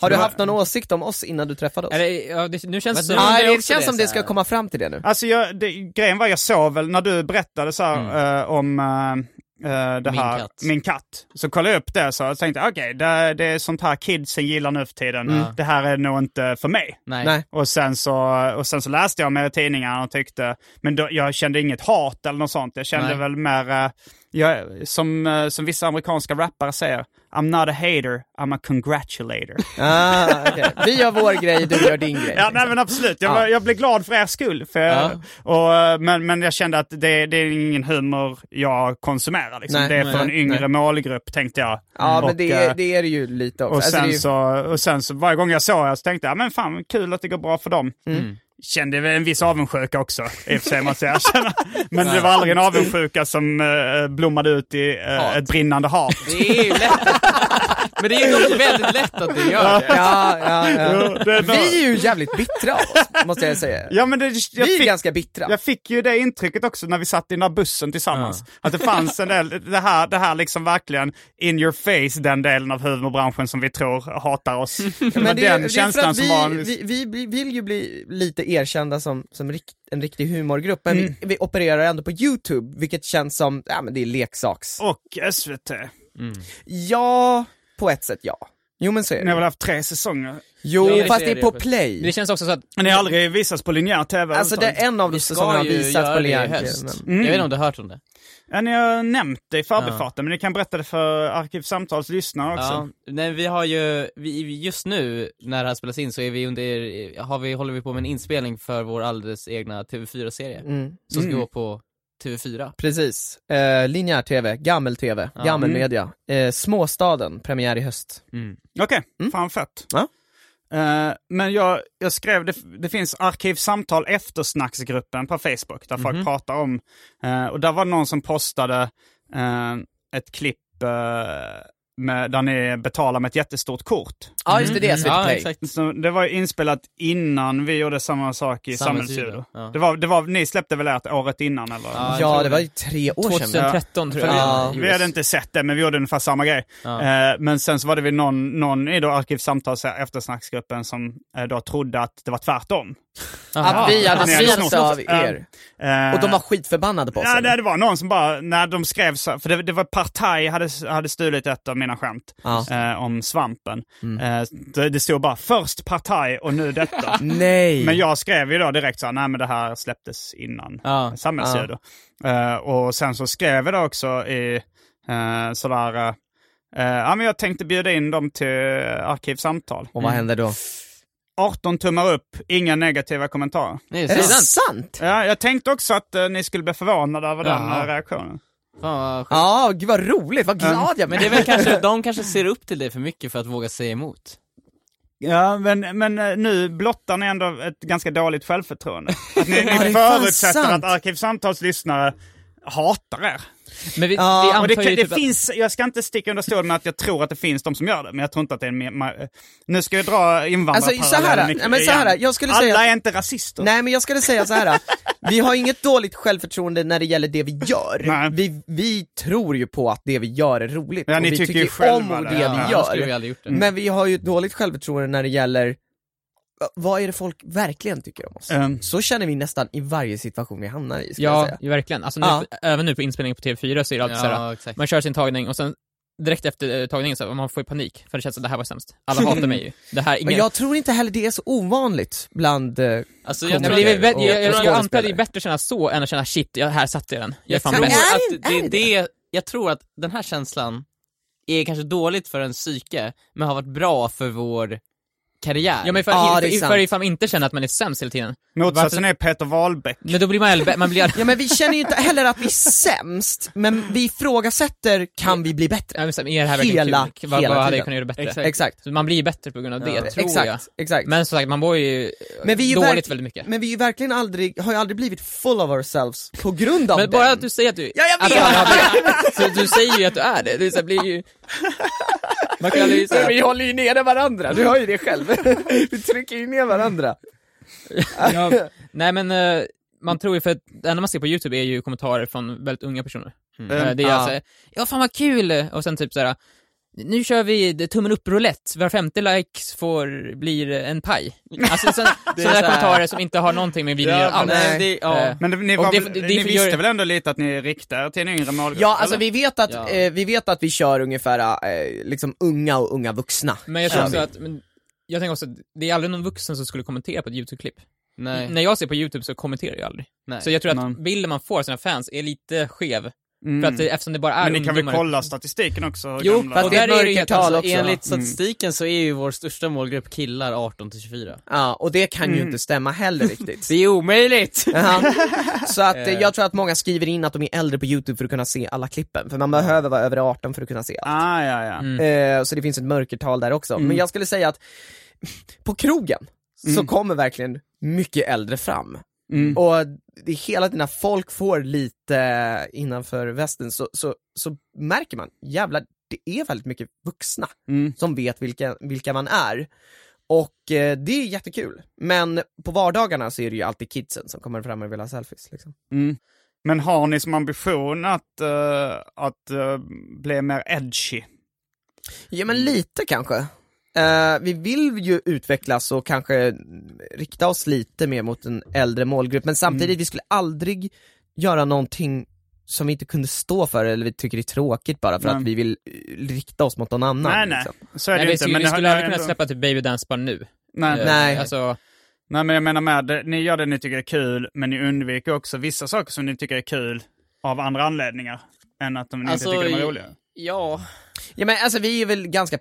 C: Har du haft någon åsikt om oss innan du träffade oss?
B: Eller, ja, det, nu känns det som...
C: Nej,
B: undrar
C: det
B: också
C: känns som det
B: så
C: ska
B: här.
C: komma fram till det nu.
A: Alltså jag, det, grejen var jag såg väl när du berättade så här, eh, om eh, eh, det
B: Mm. Min
A: här,
B: katt.
A: min katt. Så kollade jag upp det så jag tänkte okej, det, det är sånt här kidsen gillar nu för tiden. Det här är nog inte för mig.
B: Nej.
C: Nej.
A: Och sen, så, och sen så läste jag mer i tidningarna och tyckte, men då, jag kände inget hat eller något sånt. Jag kände
B: Nej.
A: väl mer, eh, jag, som, eh, som vissa amerikanska rappare säger, I'm not a hater, I'm a congratulator.
C: Ah, okej. Vi gör vår grej, du gör din grej.
A: Ja, nej men absolut. Jag, var, jag blev glad för er skull. För jag, och, men, men jag kände att det, det är ingen humor jag konsumerar. Liksom.
C: Nej,
A: det är
C: nej,
A: för en
C: nej.
A: yngre målgrupp tänkte jag.
C: Ja, men det, är-
A: eh,
C: det är det ju lite
A: och,
C: också. Alltså, det är
A: sen
C: ju-
A: så, och sen så varje gång jag såg er så tänkte jag, men fan kul att det går bra för dem.
C: Mm.
A: Kände väl en viss avundsjuka också, i och för sig måste jag erkänna. Men det var aldrig en avundsjuka som eh, blommade ut i eh, ett brinnande hat.
B: Det är ju lätt att- Men det är ju dock väldigt lätt att det gör det.
C: Ja, ja, ja.
A: Jo, det är
C: Vi är ju jävligt bittra av oss, måste jag säga.
A: Ja, men det, jag
C: Vi är
A: fick-
C: ganska bittra.
A: Jag fick ju det intrycket också när vi satt i den där bussen tillsammans. Att det fanns en del, det här, det här liksom verkligen in your face, den delen av humorbranschen som vi tror hatar oss. Det var
C: Men det, är-
A: den
C: det är för
A: känslan
C: att
A: som var...
C: vi, vi, vi, vi vill ju bli lite erkända som, som rikt, en riktig humorgrupp, men
A: Mm.
C: vi, vi opererar ändå på YouTube, vilket känns som, ja men det är leksaks...
A: Och SVT.
C: Ja, på ett sätt ja. Jo men så är
A: Ni har väl
C: det.
A: haft tre säsonger?
C: Jo,
B: Ja,
C: fast det
B: det
C: är
B: är
C: på
B: det.
C: play.
B: Men det känns också så att,
A: Men det har aldrig visats på linjär TV
C: Mm. Alltså det,
A: överhuvudtaget.
C: en av de
B: vi
C: säsongerna
B: ska
C: har
B: ju
C: visats på
B: göra det i
C: Lianke,
B: höst. Mm.
C: men-
B: Jag vet inte om du har hört om det?
A: Ja, ni har nämnt det i förbifarten, men ni kan berätta det för Arkivsamtals lyssnare också.
B: Ja, nej vi har ju, vi, just nu när det här spelas in så är vi under, har vi, håller vi på med en inspelning för vår alldeles egna TV4-serie.
C: Mm.
B: Som ska gå på TV4.
C: Precis. Eh, linjär TV, gammel TV,
B: Ja. Mm.
C: gammel media. Eh, småstaden, premiär i höst.
A: Okej, fan fett.
C: Ja.
A: Eh, men jag, jag skrev, det, det finns arkivsamtal eftersnacksgruppen på Facebook där folk pratar om, eh, och där var det någon som postade eh, ett klipp eh, med, där ni betalar med ett jättestort kort.
C: Mm. Ja just det, det är
D: Mm.
C: SVT
B: Ja,
C: Play.
B: exakt.
A: Så det var ju inspelat innan vi gjorde samma sak i
B: Samhällsljud,
A: Samhällsljud.
B: ja.
A: Det var, det var, ni släppte väl ert året innan eller?
B: Ja,
C: Ja det var ju tre år sedan. Ja.
B: 2013 tror
A: För
B: jag.
A: vi-
C: Ja.
A: Vi hade inte sett det, men vi gjorde ungefär samma grej.
B: Ja.
A: Eh, men sen så var det väl någon, någon i då arkivsamtals eftersnacksgruppen som eh, då trodde att det var tvärtom.
B: Aha.
C: Att vi hade
A: Ni hade
C: synts
A: snott.
C: av er.
A: Eh,
C: Och de var skitförbannade på oss.
A: Ja,
C: eller?
A: det, det var någon som bara, när de skrev så, för det, det var Partaj hade, hade stulit ett av mina skämt
C: Ja. Mm.
A: eh, om svampen. Eh, det, det stod bara först Partaj och nu detta.
C: Nej!
A: Men jag skrev ju då direkt så här, nej men det här släpptes innan
B: Ja.
A: samhällsljud. Eh, och sen så skrev jag då också i uh, sådär, eh, eh, ja men jag tänkte bjuda in dem till arkivsamtal.
C: Och vad hände då?
A: 18 tummar upp, inga negativa kommentarer.
B: Nej,
C: Är det
B: sant?
C: sant?
A: Ja, jag tänkte också att eh, ni skulle bli förvånade över den
B: Jaha.
A: eh, reaktionen.
B: Fan vad sjukt.
C: Ja, gud vad roligt, vad glad jag
B: Men det är väl kanske, de kanske ser upp till dig för mycket för att våga säga emot.
A: Ja, men, men eh, nu blottar ni ändå ett ganska dåligt självförtroende. Att ni,
C: det är
A: ni
C: fan
A: förutsätter
C: sant.
A: att arkivsamtalslyssnare hatar er.
B: Men vi,
C: Ja,
B: vi
C: och
B: antar
A: Och det,
B: ju
A: kan- det
B: typ att-
A: finns, jag ska inte sticka under stol med att jag tror att det finns de som gör det, men jag tror inte att det är en... mer- ma- Nu ska jag dra invandrarparallellen
C: Alltså, så här,
A: mycket
C: nej, men så här,
A: igen.
C: jag skulle
A: Alla
C: säga-
A: är inte rasister.
C: Nej men jag skulle säga så här. vi har inget dåligt självförtroende när det gäller det vi gör.
A: Nej.
C: Vi, vi tror ju på att det vi gör är roligt,
A: Ja,
C: och
A: ni
C: vi
A: tycker
C: tycker
A: ju själva
C: om det
A: det.
C: vi
A: Ja,
B: annars
C: gör. Mm.
B: skulle vi aldrig gjort det.
C: Men vi har ju ett dåligt självförtroende när det gäller vad är det folk verkligen tycker om oss?
A: Ehm,
C: Så känner vi nästan i varje situation vi hamnar i, skulle jag
D: Ja,
C: säga.
D: ju verkligen. Alltså nu,
C: Ja.
D: Även nu på inspelningen på TV4 så är det alltid såhär,
B: Ja, exakt.
D: man kör sin tagning och sen direkt efter eh, tagningen så här, man får ju panik, för det känns att det här var sämst. Alla hatar mig ju. Det här,
C: Men
D: ingen...
C: jag tror inte heller det är så ovanligt bland... eh,
B: Alltså
D: Nej,
B: jag
D: men
B: tror
D: det är
B: det
D: väl bä-
C: och-
D: jag, jag,
C: och
D: jag antar att det
C: skådespelare.
D: är bättre att känna så än att känna shit, jag, här satte jag den. Jag är fan
B: tror
D: bäst.
C: är
B: att
C: det-
B: det,
C: är
B: det, jag tror att den här känslan är kanske dåligt för en psyke, men har varit bra för vår karriär.
D: Ja men för,
C: Ja,
D: för,
C: det är
D: för,
C: sant.
D: för ifall man inte känner att man är sämst hela tiden.
A: Motsatsen är Peter Wahlbeck.
D: Men då blir man, äldre- man blir...
C: Ja men vi känner ju inte heller att vi är sämst, men vi ifrågasätter, kan vi bli bättre?
D: Ja, men så här, är det här verkligen
C: Hela-
D: kul? Vad,
C: hela
D: vad hade
C: tiden.
D: jag kunnat göra bättre?
C: Exakt.
D: Så man blir ju bättre på grund av det, tror jag.
C: Exakt, exakt.
D: Men som sagt, man mår ju
C: Men vi är ju
D: dåligt
C: verk-
D: väldigt mycket.
C: Men vi är ju verkligen aldrig, har ju aldrig blivit full of ourselves på grund av
D: Men bara
C: den.
D: att du säger att du...
C: Ja, jag
D: att
C: vet.
D: du alla har det. Så du säger ju att du är det. Det är så här, blir ju... Man kan ju säga...
C: Vi håller ju nere varandra, du hör ju det själv. vi trycker ju ner varandra.
D: Ja, nej men eh, man tror ju för att det enda man ser på youtube är ju kommentarer från väldigt unga personer. Eh, Det är
C: Ja.
D: alltså, ja fan vad kul! Och sen typ såhär, nu kör vi tummen upp roulette, var femte likes får, blir en paj. Alltså sådana
B: så här-
D: kommentarer som inte har någonting med videon att
A: Ja,
D: göra Eh, alls.
C: men nej.
D: Det,
B: ja.
A: Men det, ni,
D: Och
A: var,
D: det-
A: väl-
D: det- det
A: ni
D: för-
A: visste
D: gör-
A: väl ändå lite att ni riktar er till en yngre målgrupp?
C: Ja, alltså
A: eller?
C: vi vet att,
B: Ja.
C: eh, vi vet att vi kör ungefär eh, liksom unga och unga vuxna.
D: Men jag tror
C: Ja.
D: också att, men, jag tänker också att det är aldrig någon vuxen som skulle kommentera på ett youtube-klipp.
B: Nej.
D: När jag ser på youtube så kommenterar jag aldrig.
B: Nej.
D: Så jag tror att
A: Nej.
D: bilden man får av sina fans är lite skev. För att det, eftersom det bara är
A: Men ni kan väl
D: ungdomar.
A: kolla statistiken också? hur
B: Jo,
A: gamla-
C: fast
B: och där är det ju
C: mörkertal
B: alltså,
C: också, va?
B: enligt statistiken så är ju vår största målgrupp killar 18 till 24.
C: Ja, och det kan
D: Mm.
C: ju inte stämma heller riktigt.
B: Det är omöjligt!
C: Ja. Så att eh, jag tror att många skriver in att de är äldre på youtube för att kunna se alla klippen, för man behöver vara över 18 för att kunna se allt.
A: Ah, ja, ja.
D: Mm.
C: Eh, så det finns ett mörkertal där också. Men jag skulle säga att på krogen så kommer verkligen mycket äldre fram.
A: Mm,
C: Och det är hela tiden när folk får lite innanför västen så, så, så märker man, jävlar, det är väldigt mycket vuxna
A: mm.
C: som vet vilka, vilka man är. Och eh, det är jättekul. Men på vardagarna så är det ju alltid kidsen som kommer fram och vill ha selfies. Liksom.
A: Men har ni som ambition att, eh, att eh, bli mer edgy?
C: Ja men
A: Mm.
C: lite kanske. Eh, vi vill ju utvecklas och kanske rikta
A: Mm.
C: oss lite mer mot en äldre målgrupp, men samtidigt, vi skulle aldrig göra någonting som vi inte kunde stå för eller vi tycker det är tråkigt bara för
A: Nej.
C: att vi vill eh, rikta oss mot någon annan.
A: nej, nej.
C: Liksom.
A: Så är det
D: Nej,
A: ju
D: vi
A: inte.
D: skulle, vi
A: det har-
D: skulle
A: det
D: aldrig
A: har
D: kunna
A: ändå-
D: släppa typ Baby Dance Bar nu.
A: Nej.
D: Eh,
C: Nej.
D: Alltså,
A: Nej men jag menar med, det, ni gör det ni tycker är kul, men ni undviker också vissa saker som ni tycker är kul av andra anledningar än att de ni
B: Alltså,
A: inte tycker de är
B: i-
A: roliga.
B: Ja,
C: Ja men alltså vi är väl ganska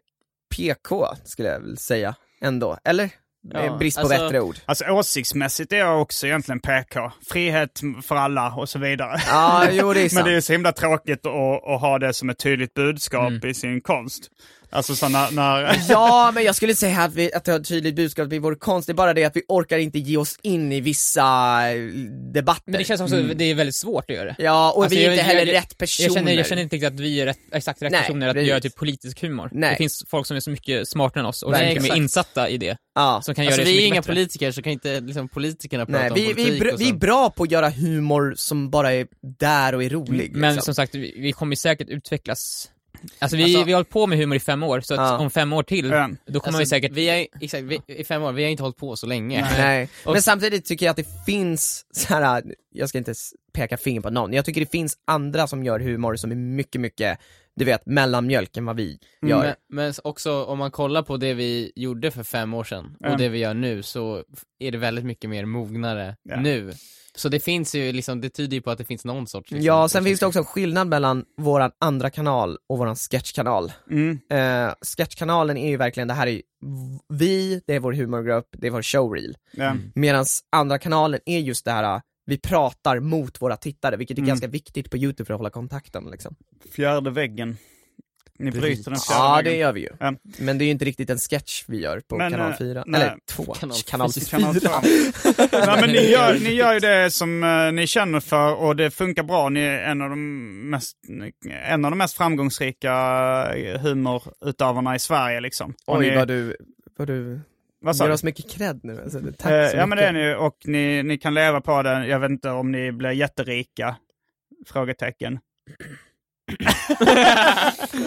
C: PK skulle jag väl säga ändå, eller? Eh, Brist på
B: alltså-
C: bättre ord.
A: Alltså åsiktsmässigt är jag också egentligen PK. Frihet för alla och så vidare.
C: Ja, jo det är
A: Men
C: sant.
A: det är ju så himla tråkigt att, att ha det som ett tydligt budskap i sin konst. Alltså så när, när...
C: Ja, men jag skulle säga att vi, att det har ett tydligt budskap i vår konst, det är bara det att vi orkar inte ge oss in i vissa eh, debatter.
D: men det känns också, det är väldigt svårt att göra det.
C: Ja, och
D: Alltså,
C: vi är
D: jag-
C: inte heller
D: jag-
C: rätt personer.
D: Jag känner, jag känner inte riktigt att vi är rätt, exakt rätt
C: Nej,
D: personer att
C: precis.
D: göra typ politisk humor.
C: Nej.
D: Det finns folk som är så mycket smartare än oss och så
C: Nej,
D: mycket mer
C: exakt.
D: insatta i det.
C: ja.
D: Som
B: alltså
D: kan göra det
B: vi
D: så
B: är
D: mycket
B: inga
D: bättre.
B: politiker så kan inte liksom politikerna prata
C: Nej,
B: om
C: vi, vi, är
B: politik
C: bra,
B: och
C: vi är
B: sånt.
C: bra på att göra humor som bara är där och är rolig.
D: Men
C: liksom.
D: som sagt, vi, vi kommer ju säkert utvecklas. Alltså vi,
B: Alltså-
D: vi har hållit på med humor i fem år, så att
C: Ja.
D: om fem år till,
A: Ja.
D: då kommer vi
B: Alltså,
D: säkert...
B: vi är, exakt, vi, i fem år, vi har inte hållit på så länge.
C: Nej.
B: Och-
C: Men samtidigt tycker jag att det finns, så här, jag ska inte s- peka finger på någon, jag tycker det finns andra som gör humor som är mycket, mycket, du vet, mellanmjölk än vad vi
D: Mm,
C: gör.
B: Men, men också om man kollar på det vi gjorde för fem år sedan och
A: Mm.
B: det vi gör nu så är det väldigt mycket mer mognare
A: Ja.
B: nu. Så det finns ju liksom, det tyder ju på att det finns någon sorts liksom,
C: Ja, sen finns det också en skillnad mellan våran andra kanal och våran sketchkanal.
A: Mm.
C: Eh, sketchkanalen är ju verkligen, det här är ju v- vi, det är vår humorgrupp, det är vår showreel.
A: Ja.
C: Medan andra kanalen är just det här, eh, vi pratar mot våra tittare, vilket är
A: Mm.
C: ganska viktigt på youtube för att hålla kontakten liksom.
A: Fjärde väggen. Ni bryter den fjärde
C: Ja det
A: väggen.
C: gör vi ju.
A: Ja.
C: Men det är ju inte riktigt en sketch vi gör på
A: Men,
C: kanal
A: eh,
C: 4,
A: nej.
C: eller 2,
B: Kanal
C: kanal
B: fyra.
C: 4.
A: Kan man ta. Nej, men ni, gör, ni gör ju det som eh, ni känner för och det funkar bra. Ni är en av de mest, en av de mest framgångsrika humorutövarna i Sverige. Liksom. Och
C: Oj
A: ni,
C: vad du, vad du
A: vad sa
C: ger
A: du?
C: oss mycket cred nu alltså, det- tack
A: Eh,
C: så
A: ja
C: mycket.
A: men det är ni och ni, ni kan leva på det. Jag vet inte om ni blir jätterika? Frågetecken.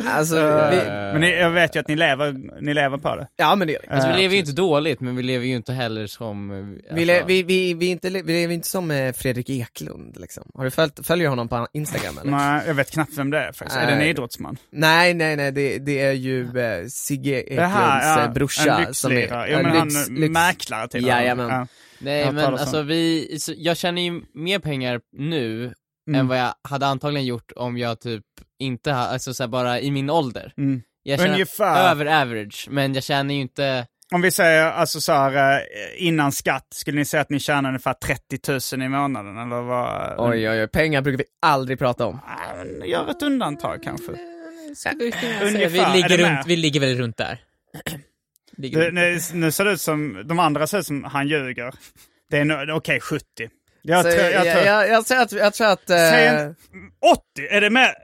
C: Alltså,
A: Eh,
C: vi,
A: Men ni, jag vet ju att ni lever, ni lever på det.
C: ja men det gör vi.
A: eh,
B: Alltså, vi lever ju inte dåligt men vi lever ju inte heller som... eh,
C: Vi, le,
B: alltså-
C: vi, vi, vi, är inte, le- vi lever inte som eh, Fredrik Eklund liksom. Har du följt, följer honom på Instagram eller?
A: Nej, jag vet knappt vem det är faktiskt. Är det en
C: Nej.
A: idrottsman?
C: Nej nej nej, det, det är ju eh, Sigge Eklunds
A: Det här, ja,
C: eh, brorsa
A: en
C: som är
A: lyxlirare. Ja,
C: en
A: men
C: lyx-
A: han
C: lyx-
A: mäklare till
C: Jajamän.
A: Ja.
B: Nej
A: Jag
B: men
A: talar så.
B: alltså vi, så jag tjänar ju mer pengar nu
A: Mm.
B: än vad jag hade antagligen gjort om jag typ inte, ha- alltså så här, bara i min ålder.
A: Mm.
B: Jag tjänar
A: Ungefär.
B: över average, men jag tjänar ju inte,
A: Om vi säger alltså så här, eh, innan skatt, skulle ni säga att ni tjänar ungefär 30 000 i månaden? Eller vad?
C: Oj oj oj, pengar brukar vi aldrig prata om.
A: Ah, Gör ett undantag kanske.
D: vi,
A: Ungefär. Är
D: ligger
A: du med?
D: runt, vi ligger väldigt runt där. ligger
A: Nu, nu, nu ser det ut som, de andra ser ut som han ljuger. Det är nog- okej, 70. Jag
C: Så
A: tror, jag
C: jag,
A: tror,
C: Alltså, jag, jag tror att, jag tror att eh,
A: Säg en- 80, är det med?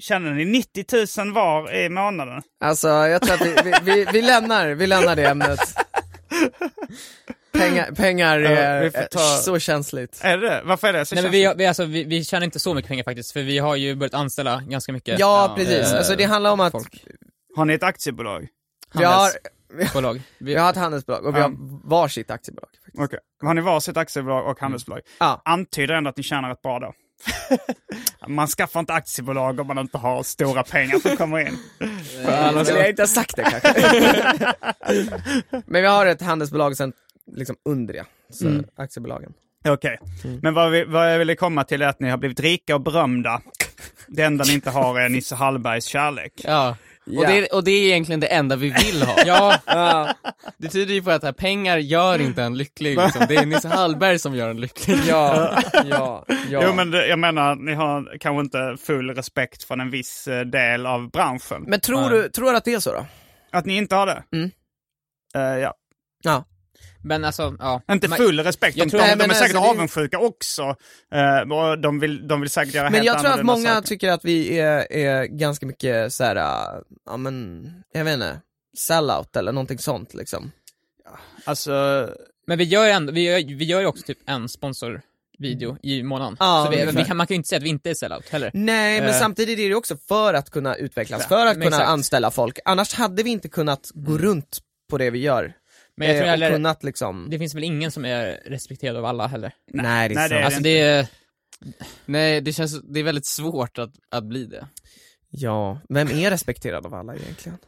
A: Känner ni 90 000 var i månaden?
C: Alltså jag tror att vi, vi, vi, vi, lämnar, vi lämnar det ämnet. Pengar, pengar
A: Ja, vi
C: är
A: får ta-
C: så känsligt.
A: Är det det? Varför är det så
D: Nej men
A: känsligt?
D: vi, har- vi, alltså, vi, vi tjänar inte så mycket pengar faktiskt, för vi har ju börjat anställa ganska mycket
C: Ja precis,
D: eh,
C: alltså det handlar om att
A: Har ni ett aktiebolag?
C: vi har,
D: bolag.
C: vi har ett handelsbolag och vi
A: Ja.
C: har varsitt aktiebolag. faktiskt.
A: Okej. Har ni varsitt aktiebolag och handelsbolag?
C: Mm. Ja.
A: Antyder ändå att ni tjänar rätt bra då. man skaffar inte aktiebolag om man inte har stora pengar som kommer in.
C: Annars skulle jag inte ha sagt det kanske. Men vi har ett handelsbolag sen liksom under det, så aktiebolagen.
A: Okej,
C: Mm.
A: men vad, vi, vad jag ville komma till är att ni har blivit rika och berömda. Det enda ni inte har är Nisse Hallbergs kärlek.
B: ja. Och, det, är- och det är egentligen det enda vi vill ha. ja. Det tyder ju på att här, pengar gör inte en lycklig liksom. Det är Nisse Hallberg som gör en lycklig.
C: Ja, ja, ja.
A: Jo, men det, jag menar, ni har kanske inte full respekt från en viss eh, del av branschen.
C: Men tror du, tror du att det är så då?
A: Att ni inte har det?
C: Mm.
A: Eh, ja.
C: Ja.
D: Men alltså, ja.
A: Inte
D: Man-
A: full respekt,
D: jag
A: de,
D: tror-
A: de,
C: Nej, men
A: de är säkert
C: alltså, det-
A: avundsjuka också. Eh, och de, vill, de vill säkert göra
C: Men
A: helt
C: jag tror att
A: annorlunda
C: många
A: saker.
C: tycker att vi är, är ganska mycket så här, äh, ja men, jag vet inte, sellout eller någonting sånt liksom.
A: Alltså,
D: Men vi gör ju ändå, vi gör, vi gör ju också typ en
B: Mm.
D: sponsorvideo i månaden.
C: Ja,
D: så vi,
C: ungefär.
D: vi kan, man kan ju inte säga att vi inte är sellout heller.
C: Nej men
D: Eh.
C: samtidigt är det också för att kunna utvecklas, för att
D: men
C: kunna
D: exakt.
C: anställa folk. Annars hade vi inte kunnat gå runt på det vi gör.
D: Men jag
C: Eh,
D: tror
C: och
D: heller,
C: kunnat liksom,
D: det finns väl ingen som är respekterad av alla heller.
C: nej det är
A: nej, det
C: sant.
A: är
D: Alltså det är,
B: Nej, det känns, det är väldigt svårt att, att bli det.
C: Ja, vem är respekterad av alla egentligen?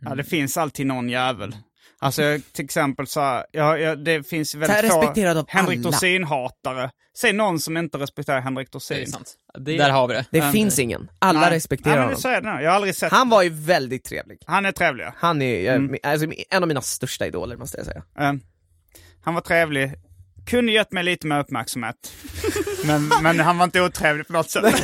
A: Ja, det finns alltid någon jävel. Alltså jag- till exempel så här, ja, ja, det finns
C: Så här
A: väldigt få
C: respekterad av
A: Henrik
C: alla.
A: Dorsin-hatare. Säg någon som inte respekterar Henrik Dorsin.
H: Det är sant. Där har vi det.
C: Det finns ingen. Alla
A: Nej.
C: respekterar
A: Nej, men
C: honom.
A: så är det nog. Jag har aldrig sett... Han,
C: Han var ju väldigt trevlig.
A: är trevlig.
C: Han är ju, eh,
A: Mm.
C: alltså, en av mina största idoler måste jag säga.
A: Eh, han var trevlig. Kunde gett mig lite mer uppmärksamhet. men, men han var inte otrevlig på något sätt.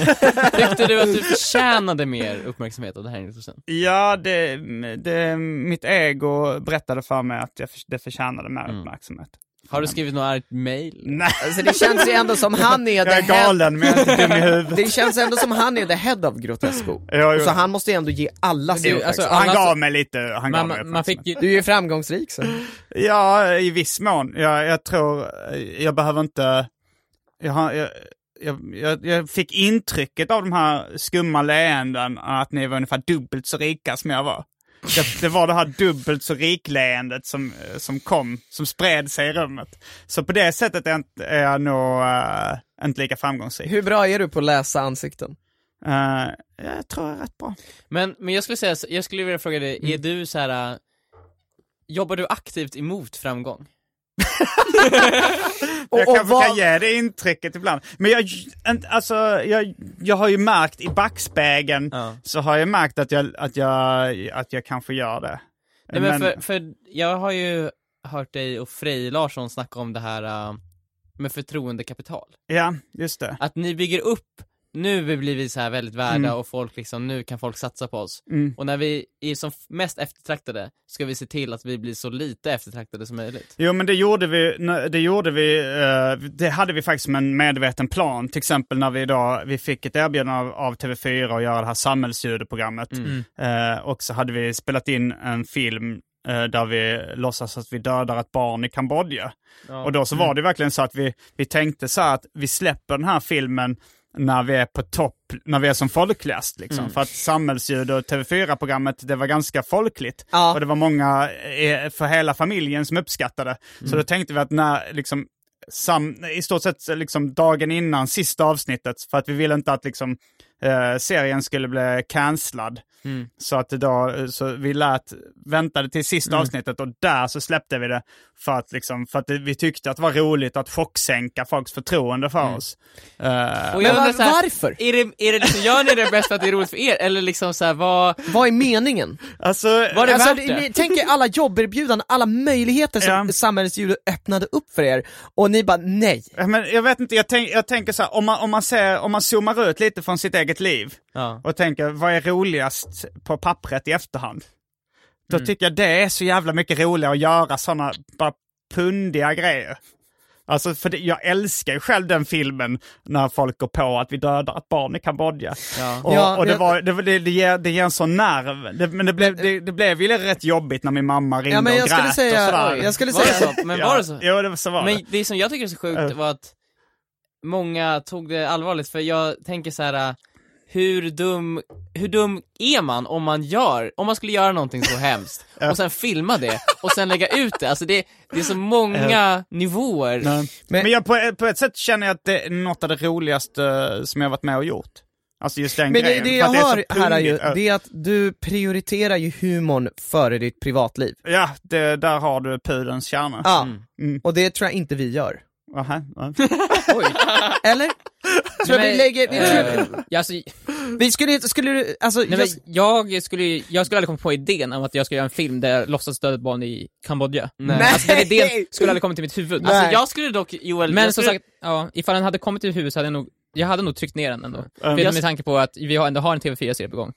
B: Tyckte du att du förtjänade mer uppmärksamhet av det här intresset?
A: Ja, det, det, mitt ego berättade för mig att jag, för- det förtjänade mer
H: Mm.
A: uppmärksamhet.
B: Har du skrivit något argt mail?
A: Nej,
C: Alltså det känns ju ändå som han är
A: jag är
C: the head,
A: galen men jag är inte dum i huvudet.
C: det känns ändå som han är the head of Grotesco.
A: Ja, jo.
C: Så han måste ju ändå ge alla sin
H: ju- alltså,
C: uppmärksamhet.
A: Han
H: alla-
A: gav mig lite, han gav
H: Man,
A: mig
H: man man fick
A: uppmärksamhet.
H: ju...
C: Du är ju framgångsrik så.
A: Ja, i viss mån. Jag, jag tror, jag behöver inte, jag, har- jag, jag, jag, jag fick intrycket av de här skumma leenden att ni var ungefär dubbelt så rika som jag var. Det, det var det här dubbelt så rik-leendet som, som kom, som spred sig i rummet. Så på det sättet är jag, inte- är jag nog eh, inte lika framgångsrik.
C: Hur bra är du på att läsa ansikten?
A: Eh, jag tror jag är rätt bra.
B: Men, men jag skulle säga, så- jag skulle vilja fråga dig, är du så här. äh, jobbar du aktivt emot framgång?
A: jag
C: och
A: kanske
C: vad-
A: kan ge det intrycket ibland. Men jag, en- alltså, jag, jag har ju märkt i backspegeln så har jag märkt att jag, att jag, att jag kanske gör det.
B: Nej men, För, för jag har ju hört dig och Frej Larsson snacka om det här äh, med förtroendekapital.
A: Ja, just det.
B: Att ni bygger upp, nu blir vi så här väldigt värda och folk liksom, nu kan folk satsa på oss.
A: Mm.
B: Och när vi är som f- mest eftertraktade ska vi se till att vi blir så lite eftertraktade som möjligt.
A: Jo men det gjorde vi, det gjorde vi, eh, det hade vi faktiskt som en medveten plan. Till exempel när vi då, vi fick ett erbjudande av, av TV4 att göra det här samhällsljudprogrammet. Eh, och så hade vi spelat in en film eh, där vi låtsas att vi dödar ett barn i Kambodja. Och då så var det verkligen så att vi, vi tänkte så här att vi släpper den här filmen när vi är på topp, när vi är som folkligast liksom. För att samhällsljud och TV4-programmet, det var ganska folkligt.
C: Ja.
A: Och det var många eh, för hela familjen som uppskattade. Så då tänkte vi att när, liksom, sam, i stort sett liksom dagen innan sista avsnittet, för att vi ville inte att liksom, eh, serien skulle bli cancellad. Så att då, eh, så vi lät, väntade till sista avsnittet och där så släppte vi det. För att, liksom, för att det, vi tyckte att det var roligt att chocksänka folks förtroende för oss. Eh,
B: Och
C: Men
B: jag undrar
C: var,
B: så här,
C: varför?
B: är det, är det liksom, gör ni det bäst för att det är roligt för er? Eller liksom så här, vad,
C: Vad är meningen?
A: alltså,
B: var det
C: Alltså,
B: värt
C: ni-
B: det?
C: ni- Tänk er alla jobberbjudanden, alla möjligheter som
A: Ja.
C: samhällsljudet öppnade upp för er och ni bara nej.
A: Ja, Men jag vet inte, jag, tänk, jag tänker så här, om man, om, man ser, om man zoomar ut lite från sitt eget liv
B: Ja.
A: och tänker vad är roligast på pappret i efterhand? Då
B: Mm.
A: tycker jag det är så jävla mycket roligare att göra sådana bara pundiga grejer. Alltså, för det, jag älskar ju själv den filmen när folk går på att vi dödar ett barn i Kambodja. Och,
C: Ja,
A: och det,
C: jag-
A: var, det, var- det, det, ger, det ger en sån nerv. Det, men det blev, det, det blev ju rätt jobbigt när min mamma ringde
C: Ja, men
A: och
C: jag
A: grät
C: skulle
A: och
C: säga,
A: sådär.
C: jag skulle
B: Var det
C: säga,
B: så? Men
A: Ja,
B: var det så?
A: Jo, det, var- så var det.
B: Men det som jag tycker är så sjukt
A: Ja.
B: var att många tog det allvarligt, för jag tänker så här. äh, Hur dum, hur dum är man om man gör, om man skulle göra någonting så hemskt och sen filma det och sen lägga ut det? Alltså det, det är så många nivåer.
A: Nej. Men,
C: Men-
A: jag, på, på ett sätt känner jag att det är något av det roligaste som jag varit med och gjort. Alltså just den
C: Men det,
A: grejen.
C: det
A: för
C: jag
A: att
C: hör
A: så
C: här är ju,
A: pundigt. Ja,
C: det är att du prioriterar ju humorn före ditt privatliv.
A: Ja, det, där har du pudelns kärna.
C: Ja,
A: Mm.
C: och det tror jag inte vi gör.
A: Aha, ja.
C: Eller? Tror jag vi
H: men-
C: lägger, vi, tror,
H: Eh, ja, alltså,
C: vi skulle inte, skulle du, alltså,
H: nej, men
C: jag,
H: jag, skulle, ju- jag skulle aldrig komma på idén om att jag ska göra en film där jag låtsas döda ett barn i Kambodja.
C: Nej.
H: Alltså, den idén skulle aldrig komma till mitt huvud. Alltså,
C: Nej.
B: Jag skulle dock, Joel,
H: Men
B: jag
H: som
B: skulle,
H: sagt, ja, ifall den hade kommit till huvudet så hade jag nog, jag hade nog tryckt ner den ändå. För
A: jag-
H: med tanke på att vi har- ändå har en TV4-serie på gång.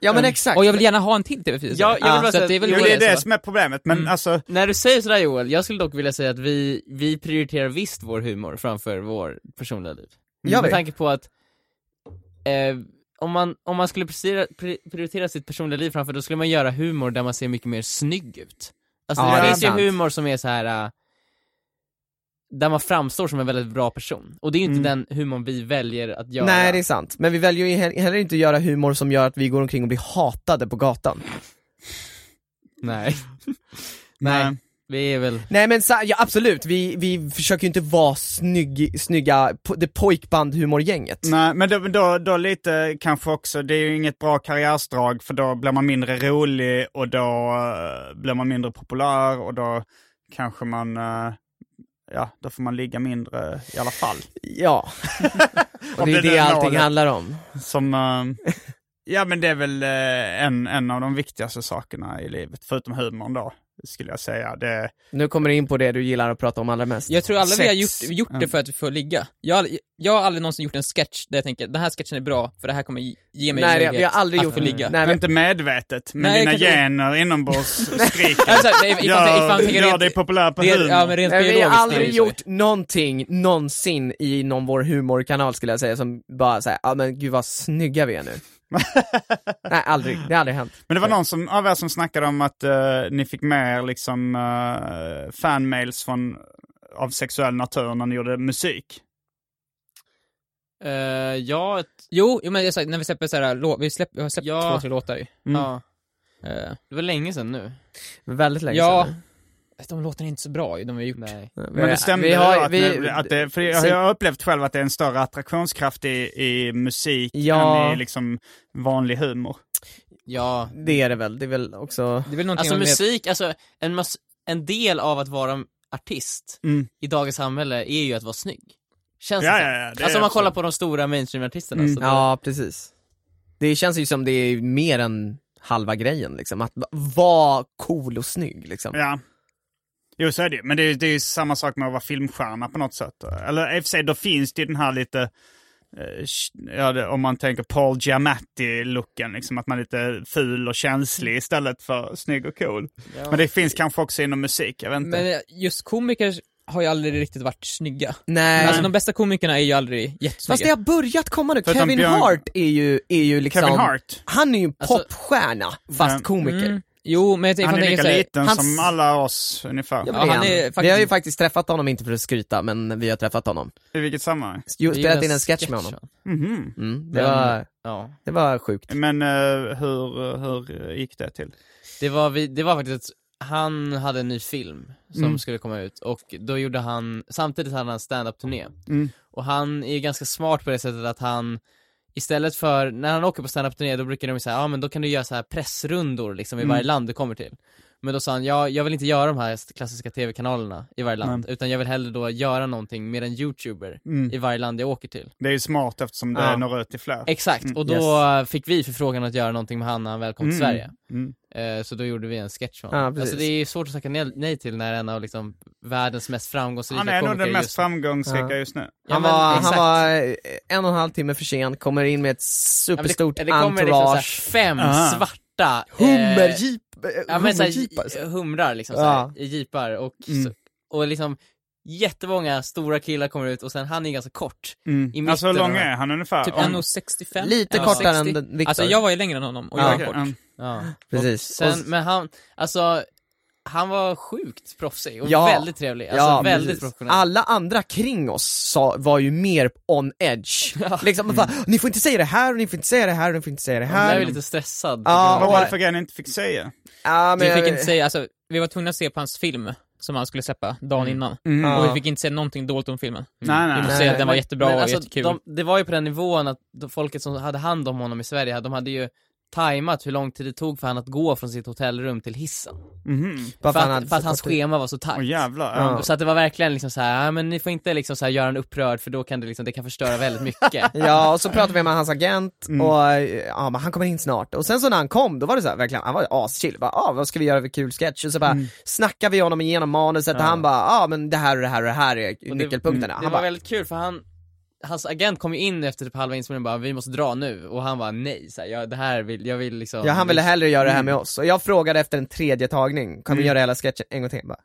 C: ja men exakt.
H: Och jag vill gärna ha en till TV4-serie.
B: Ja, jag vill bara
H: så
B: säga
H: att det är väl
A: Jo,
H: det,
A: det är det
H: så.
A: som är problemet, men
B: Mm.
A: alltså...
B: när du säger sådär Joel, jag skulle dock vilja säga att vi, vi prioriterar visst vår humor framför vår personliga liv.
C: Gör
B: Med
C: vi?
B: tanke på att eh, om, man, om man skulle prioritera, pri- prioritera sitt personliga liv framför, då skulle man göra humor där man ser mycket mer snygg ut. Alltså
C: Ja, det
B: det
C: är
B: finns ju
C: sant.
B: humor som är så här eh, där man framstår som en väldigt bra person. Och det är ju inte den humorn vi väljer att göra.
C: Nej det är sant, men vi väljer ju he- heller inte att göra humor som gör att vi går omkring och blir hatade på gatan.
B: Nej.
C: Nej.
A: Nej.
B: Vi är väl...
C: Nej men sa, ja, absolut, vi, vi försöker ju inte vara snygg, snygga, po- det pojkbandhumorgänget.
A: Nej, men då, då, då lite kanske också, det är ju inget bra karriärsdrag för då blir man mindre rolig och då eh, blir man mindre populär och då kanske man, eh, ja, då får man ligga mindre i alla fall.
C: Ja. och
A: Om
C: det är
A: det
C: det,
A: är den
C: allting
A: nollen.
C: handlar om.
A: Som, eh, ja men det är väl eh, en, en av de viktigaste sakerna i livet, förutom humorn då, skulle jag säga. Det,
C: Nu kommer du in på det du gillar att prata om allra mest.
D: Jag tror alla vi har
A: Sex.
D: gjort, gjort det för att vi får ligga. Jag, har aldrig- jag har aldrig någonsin gjort en sketch där jag tänker den här sketchen är bra för det här kommer ge- ge mig
C: Nej, det-
D: möjlighet
C: vi har aldrig
D: att
C: gjort
D: få
C: det.
D: ligga.
C: Nej, men,
A: Inte medvetet, men
D: Nej,
A: dina
D: kanske-
A: gener inombords skriker.
D: Alltså, nej, ifall- ifall-
A: Gör,
D: ifall-
A: gör dig populär på
D: Det-
A: humor.
D: Ja, men rent
C: nej, vi har
D: biologiskt är det
C: aldrig
D: ju så.
C: gjort någonting någonsin i någon vår humorkanal skulle jag säga som bara säger ja ah, men gud vad snygga vi är nu. nej aldrig, det har aldrig hänt.
A: Men det var någon som, av er som snackade om att eh, ni fick mer liksom eh, fanmails från, av sexuell natur när ni gjorde musik.
B: eh, ja, ett,
D: Jo, jo, men jag sa, när vi släpper så här, lå- vi, släpp, vi har släppt
B: Ja.
D: två, tre låtar ju.
B: ja.
D: Eh,
B: Det var länge sedan nu.
C: Väldigt länge
D: ja,
C: sedan.
D: de låtarna är inte så bra ju, de vi har gjort.
B: Nej.
C: nu.
A: Men det stämde
C: vi
A: då
C: har,
A: att,
C: vi,
A: ni, att det, för jag, jag har upplevt själv att det är en större attraktionskraft i, i musik
C: Ja.
A: än i liksom vanlig humor.
B: Ja.
C: det är det väl, det är väl också
D: Det är väl någonting
B: Alltså
D: man vet-
B: musik, alltså en, mas- en del av att vara artist
A: Mm.
B: i dagens samhälle är ju att vara snygg. Känns
A: Ja,
B: det
A: ja,
B: som.
A: ja, det är
B: Alltså om man
A: absolut.
B: kollar på de stora mainstream-artisterna
A: Mm.
B: så då-
C: Ja, precis. Det känns ju som det är mer än halva grejen liksom, att va- vara cool och snygg liksom.
A: Ja. Jo, så är det ju. Men det är, ju- det är ju samma sak med att vara filmstjärna på något sätt. Eller i och för sig, då finns det ju den här lite, eh, sh- ja, det, om man tänker Paul Giamatti-looken, liksom att man är lite ful och känslig istället för snygg och cool. Men det finns kanske också inom musik, jag vet inte.
D: Men eh, just komiker har ju aldrig riktigt varit snygga.
C: Nej.
D: Alltså de bästa komikerna är ju aldrig jättesnygga.
C: Fast det har börjat komma nu,
A: Förutom
C: Kevin
A: Björn-
C: Hart är ju, är ju liksom
A: Kevin Hart,
C: Han är ju en
D: Alltså-
C: popstjärna, fast
A: Mm.
C: komiker.
D: Mm. Jo, men jag tänker
A: han är
D: tänker
A: lika
D: så här,
A: liten
D: hans-
A: som alla oss ungefär.
C: Ja,
D: Ja,
C: men det
D: han är
C: Vi har
D: faktiskt-
C: ju faktiskt träffat honom, inte för att skryta, men vi har träffat honom.
A: I vilket sammanhang?
C: Jo,
B: Vi
C: spelat
B: gjorde
C: in en sketch
B: sketch, alltså.
C: med honom.
B: va?
A: Mhm.
C: Mm, det,
B: Men-
C: var,
B: Ja.
C: det var sjukt.
A: Men eh, hur, hur gick det till?
B: Det var, vi, det var faktiskt att han hade en ny film som
A: Mm.
B: skulle komma ut och då gjorde han, Ehm, samtidigt hade han en stand-up-turné.
A: Mm.
B: Och han är ju ganska smart på det sättet att han Istället för, när han åker på stand-up-turné då brukar de ju säga, ja men då kan du göra så här pressrundor liksom i
A: Mm.
B: varje land du kommer till. Men då sa han, ja jag vill inte göra de här klassiska tv-kanalerna i varje land, utan jag vill hellre då göra någonting med en youtuber
A: Mm.
B: i varje land jag åker till.
A: Det är ju smart eftersom det
C: Ja.
A: når ut till fler.
B: Exakt, och då fick vi förfrågan att göra någonting med han när han väl kom till
A: Mm.
B: Sverige.
A: Mm.
B: Eh, Så då gjorde vi en sketch med
C: Ja,
B: honom.
C: precis.
B: alltså det är svårt att tacka ne- nej till när en av liksom världens mest framgångsrika
A: Han är nog
B: komiker
A: den mest
B: just-
A: framgångsrika
C: Ja.
A: just nu.
B: Ja,
C: han,
B: men
C: var, han
B: exakt.
C: var eh, en och en halv timme för sen, kommer in med ett
B: Ja, men det-
C: superstort
B: Det kommer liksom såhär
C: entourage.
B: fem
D: Ah.
A: Aha.
B: svarta eh,
C: Hummerjeep! eh,
B: ja, men såhär,
C: hummerjeep, alltså.
B: humrar liksom,
C: Ja.
B: såhär, i jeepar och,
A: Mm.
B: så, och liksom jättemånga stora killar kommer ut och sen han är ganska kort. I
A: Mm.
B: mitten
A: Alltså hur lång
B: av-
A: är han ungefär?
D: Typ
A: Om-
D: 1,65?
C: Lite
D: 1,60.
C: kortare än den- Viktor.
D: Alltså jag var ju längre än honom och jag
C: Ja.
D: var
A: Okej,
D: kort.
A: mm.
B: Ja.
C: Precis.
B: Sen, men han, alltså, han var sjukt proffsig och
C: Ja.
B: väldigt trevlig. Alltså
C: Ja,
B: väldigt
C: precis.
B: professionell.
C: Alla andra kring oss sa, var ju mer on edge. Liksom, bara, ni får inte säga det här, och ni får inte säga det här, och ni får inte säga det
B: Han
C: här.
B: blev ju lite stressad.
C: Ja,
A: Vad
C: och- Mm.
A: var det för grej ni inte fick säga?
C: Ja, men
D: Vi fick
C: jag-
D: inte säga, alltså, vi var tvungna att se på hans film som han skulle släppa dagen
B: Mm.
D: innan.
C: Mm. Ja.
D: Och vi fick inte säga någonting dåligt om filmen.
A: Nej, nej.
D: Vi får
C: Nej.
D: säga att den var jättebra
B: Men
D: och
B: alltså,
D: jättekul.
B: De, det var ju på den nivån att de- folket som hade hand om honom i Sverige, de hade ju tajmat hur lång tid det tog för han att gå från sitt hotellrum till hissen.
A: Mhm.
C: Bara
B: för
C: för han
B: att,
C: hade
B: för att hans
C: fått ut-
B: schema var så tajt.
A: Åh jävlar.
C: Ja.
A: Ja.
B: Så att det var verkligen liksom så här, "Ah, men ni får inte liksom så här göra en upprörd för då kan det liksom, det kan förstöra väldigt mycket.
C: Ja, och så pratade vi med hans agent
B: Mm.
C: och eh, ja, men han kommer in snart. Och sen så när han kom, då var det så här, verkligen, han var aschill. Bara, ah, vad ska vi göra för kul sketch? Och så bara
B: Mm.
C: snackade vi honom igenom manuset och han bara, ja ah, men det här och det här och det här är nyckelpunkterna.
B: Det
C: Han
B: var
C: bara,
B: väldigt kul för han, hans agent kom ju in efter typ halva inspelningen och bara, vi måste dra nu. Och han var nej, så här, jag, det här vill, jag vill liksom.
C: ja han ville hellre göra det här med oss. Och jag frågade efter en tredje tagning, kan vi göra hela sketchen en gång till? Han bara,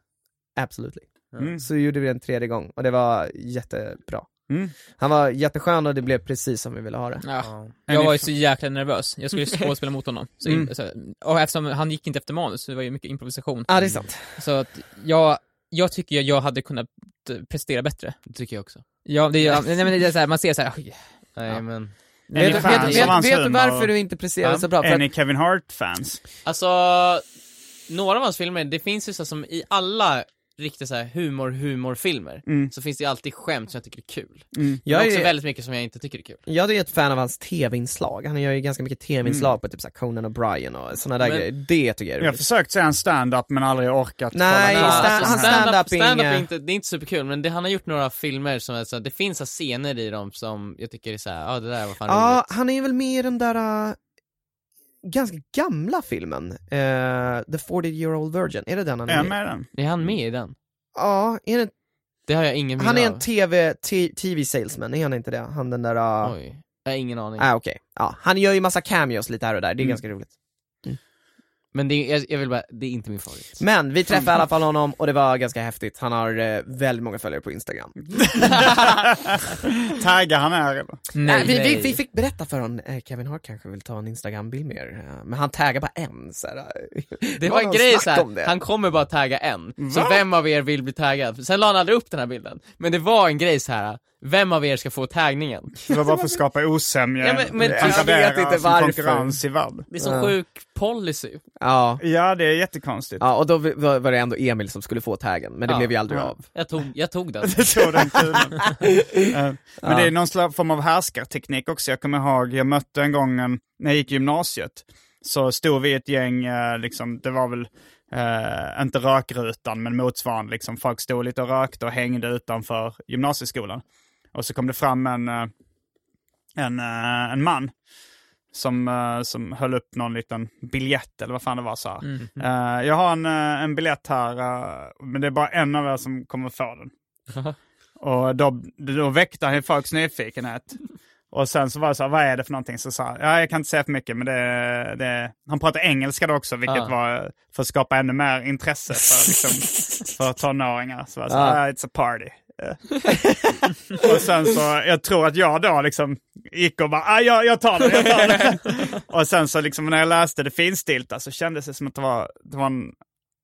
C: absolutely.
A: Mm.
C: Så gjorde vi den tredje gång och det var jättebra.
A: Mm.
C: Han var jätteskön och det blev precis som vi ville ha det.
D: Ja. Jag var ju så jäkla nervös. Jag skulle ju skådespela mot honom. Så, så, och eftersom han gick inte efter manus, så det var ju mycket improvisation.
C: Ja, det är sant.
D: Så att jag, jag tycker jag, jag hade kunnat eh, prestera bättre.
B: Det tycker jag också.
D: Ja, det, ja, nej, men det är så här, man ser så här, "Oj,
B: Nej men.
A: Är ni
C: Vet, vet,
A: fans av
C: vet,
A: hans
C: vet du
A: humor?
C: varför du inte presterade så bra? För
A: Är
C: att
A: ni Kevin Hart-fans?
B: Alltså,
D: några av hans filmer, det finns ju så här som i alla riktiga så här humor, humorfilmer,
A: Mm.
D: så finns det ju alltid skämt som jag tycker är kul.
C: Jag
D: Men också
C: är-
D: väldigt mycket som jag inte tycker är kul.
C: Jag är ett fan av hans tv-inslag, han gör ju ganska mycket tv-inslag på typ såhär Conan O'Brien och sådana där
D: Men-
C: grejer, det tycker jag är
A: Mm. Jag har
C: roligt.
A: försökt säga en stand-up men aldrig orkat
C: Nej,
A: kolla ner.
C: Ja, sta-
D: alltså,
C: hans stand-up är
D: stand-up är
C: inga-
D: inte, det är inte superkul, men det, han har gjort några filmer som är så här, det finns så här scener i dem som jag tycker är så här, ja det där var fan
C: Ja,
D: roligt.
C: han är ju väl med i den där äh, ganska gamla filmen, eh, The 40 year old virgin, är det den han
A: Är
C: är
A: jag
C: med
A: med
C: i?
A: i den?
D: Är han med i den?
C: Ja, är det,
D: Det har jag ingen minne
C: han är en
D: av.
C: TV, t- tv-salesman, är han inte det? Han den där, äh,
D: Oj, jag har ingen aning.
C: ah, okej, ja, han gör ju massa cameos lite här och där, det är
A: Mm.
C: ganska roligt.
D: Men det, är- jag, jag vill bara, det är inte min favorit.
C: Men vi
D: Mm.
C: träffade i alla fall honom och det var ganska häftigt, han har eh, väldigt många följare på instagram.
A: Tagga han är eller?
C: Nej, vi, vi, vi fick berätta för honom, eh, Kevin Hart kanske vill ta en instagram-bild med er, eh, men han taggar bara en så här. eh,
D: Det var en
C: någon
D: grej
C: snack om
D: såhär,
C: det.
D: han kommer bara tagga en, så vem av er vill bli taggad? Sen la han aldrig upp den här bilden, men det var en grej så här. vem av er ska få taggningen?
A: Det var bara för att skapa osämja.
D: Ja, men- men-
A: Det
D: jag vet
A: etablerar
C: inte
A: som
C: varför.
A: konkurrens i världen.
D: Det är så sjuk policy.
C: Ja.
A: Ja, det är jättekonstigt.
C: Ja, och då vi- var var det ändå Emil som skulle få taggen, men det
D: Ja.
C: blev ju aldrig av.
D: Jag tog, jag tog den.
A: Det såg den kulan. Eh, Men det är någon slags form av härskarteknik också. Jag kommer ihåg, jag mötte en gång en, när jag gick i gymnasiet, så stod vi i ett gäng, eh, liksom, det var väl eh, inte rökrutan, men motsvarande. Liksom, folk stod lite och rökte och hängde utanför gymnasieskolan. Och så kom det fram en, eh, en, eh, en man som, eh, som höll upp någon liten biljett eller vad fan det var. Så här. Eh, jag har en, eh, en biljett här, eh, men det är bara en av er som kommer få den. Och då, då väckte han ju folks nyfikenhet. Och sen så var det så här, vad är det för någonting? Så sa han, ja, jag kan inte säga för mycket, men det, det Han pratade engelska då också, vilket
D: Ah.
A: var för att skapa ännu mer intresse för, liksom, för tonåringar. Så var det så här, ah. it's a party. Eh. och sen så, jag tror att jag då liksom gick och bara, ah, jag, jag tar det, jag tar det. och sen så liksom när jag läste det finstilta så kändes det som att det var, det var en,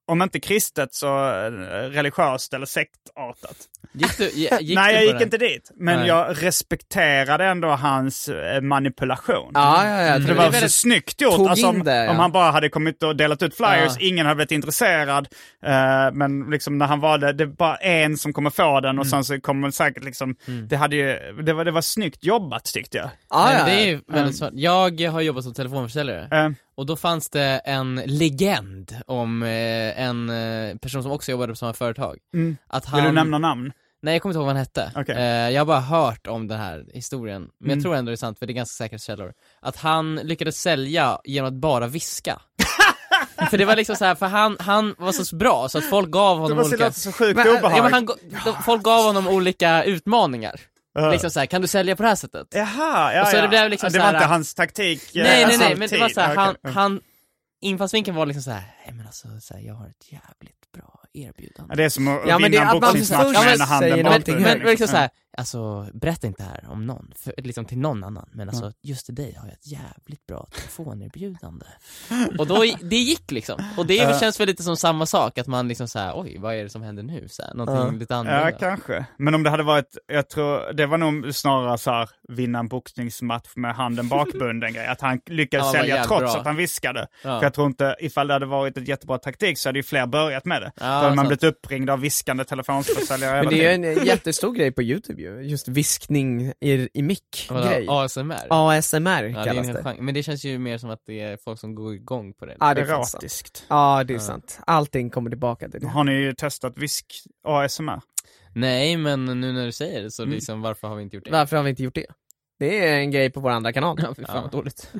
A: om inte kristet så eh, religiöst eller sektartat.
D: Gick du, gick du
A: Nej, jag
D: på
A: gick
D: den?
A: inte dit. Men
D: Nej.
A: jag respekterade ändå hans eh, manipulation.
C: Ja, ja,
D: Mm.
C: ja.
A: För det var så snyggt gjort.
C: tog
A: Alltså, om,
C: in det, ja.
A: om han bara hade kommit och delat ut flyers,
D: Ja.
A: ingen hade blivit intresserad. Eh, men liksom när han valde, det var bara en som kommer få den
D: Mm.
A: och sen så kommer säkert liksom, det, hade ju, det, var, det var snyggt jobbat tyckte jag.
C: ja,
D: Men
C: ja.
D: det är ju väldigt svårt. Jag har jobbat som telefonförsäljare,
A: Eh,
D: och då fanns det en legend om eh, en eh, person som också jobbade på samma företag. Att han...
A: Mm. Vill du nämna namn?
D: Nej jag kommer inte ihåg vad han hette.
A: Okej.
D: Eh, jag har bara hört om den här historien, men
A: Mm.
D: jag tror ändå det är sant för det är ganska säkra källor. Att han lyckades sälja genom att bara viska. för det var liksom så här, för han, han var så bra så att folk gav
A: Det
D: honom
A: var så,
D: olika...
A: låter så sjukt
C: Men, eh,
A: obehagligt.
D: Ja, men han, ga- de- folk gav honom olika utmaningar.
A: Eh.
D: Liksom så här, kan du sälja på det här sättet?
A: Jaha, ja,
D: Och så
A: ja.
D: det blev liksom
A: Ja, det var
D: så här-
A: inte hans taktik. eh,
D: Nej nej
A: alltså,
D: nej, men det var
A: tid.
D: så här,
A: Ja,
D: han,
A: okej.
D: han, infallsvinkeln var liksom så här, nej men alltså så här, jag har ett jävligt bra erbjudande.
A: Ja, det är som att
C: Ja, men det
A: vinna
C: är
A: en
C: att man
A: boxningsmatch
C: först
A: med ena handen bakom
C: säger någonting
D: Men,
A: huvudet,
D: men liksom
A: Ja.
D: såhär, alltså berätta inte det här om någon, för, liksom till någon annan, men alltså just till dig har jag ett jävligt bra telefonerbjudande. och då, det gick liksom. Och det känns väl lite som samma sak, att man liksom såhär, oj vad är det som händer nu? Så här, någonting lite annorlunda.
A: Ja, kanske. Men om det hade varit, jag tror, det var nog snarare så här, vinna en boxningsmatch med handen bakbunden grej. Att han lyckades
D: Ja, vad
A: sälja
D: jävla
A: trots
D: bra.
A: att han viskade.
D: Ja.
A: För jag tror inte, ifall det hade varit ett jättebra taktik så hade ju fler börjat med det. Då hade man
D: sant.
A: blivit uppringd av viskande telefonförsäljare.
C: Men
A: hela
C: det är
A: tiden.
C: ju en jättestor grej på youtube ju, just viskning i, i
D: Vadå,
C: mick-grej.
D: ASMR?
C: ASMR
D: Ja, det är en
C: kallas
D: hel
C: det.
D: genre. Men det känns ju mer som att det är folk som går igång på det.
C: Ja, det är fan sant.
A: Erotiskt.
C: Ja, det är sant. Allting kommer tillbaka till det.
A: typ, Har ni ju testat visk ASMR?
D: Nej men nu när du säger det så
C: Mm.
D: liksom, varför har vi inte gjort det?
C: Varför har vi inte gjort det? Det är en grej på vår andra kanal. Ja,
D: fan, vad
C: dåligt.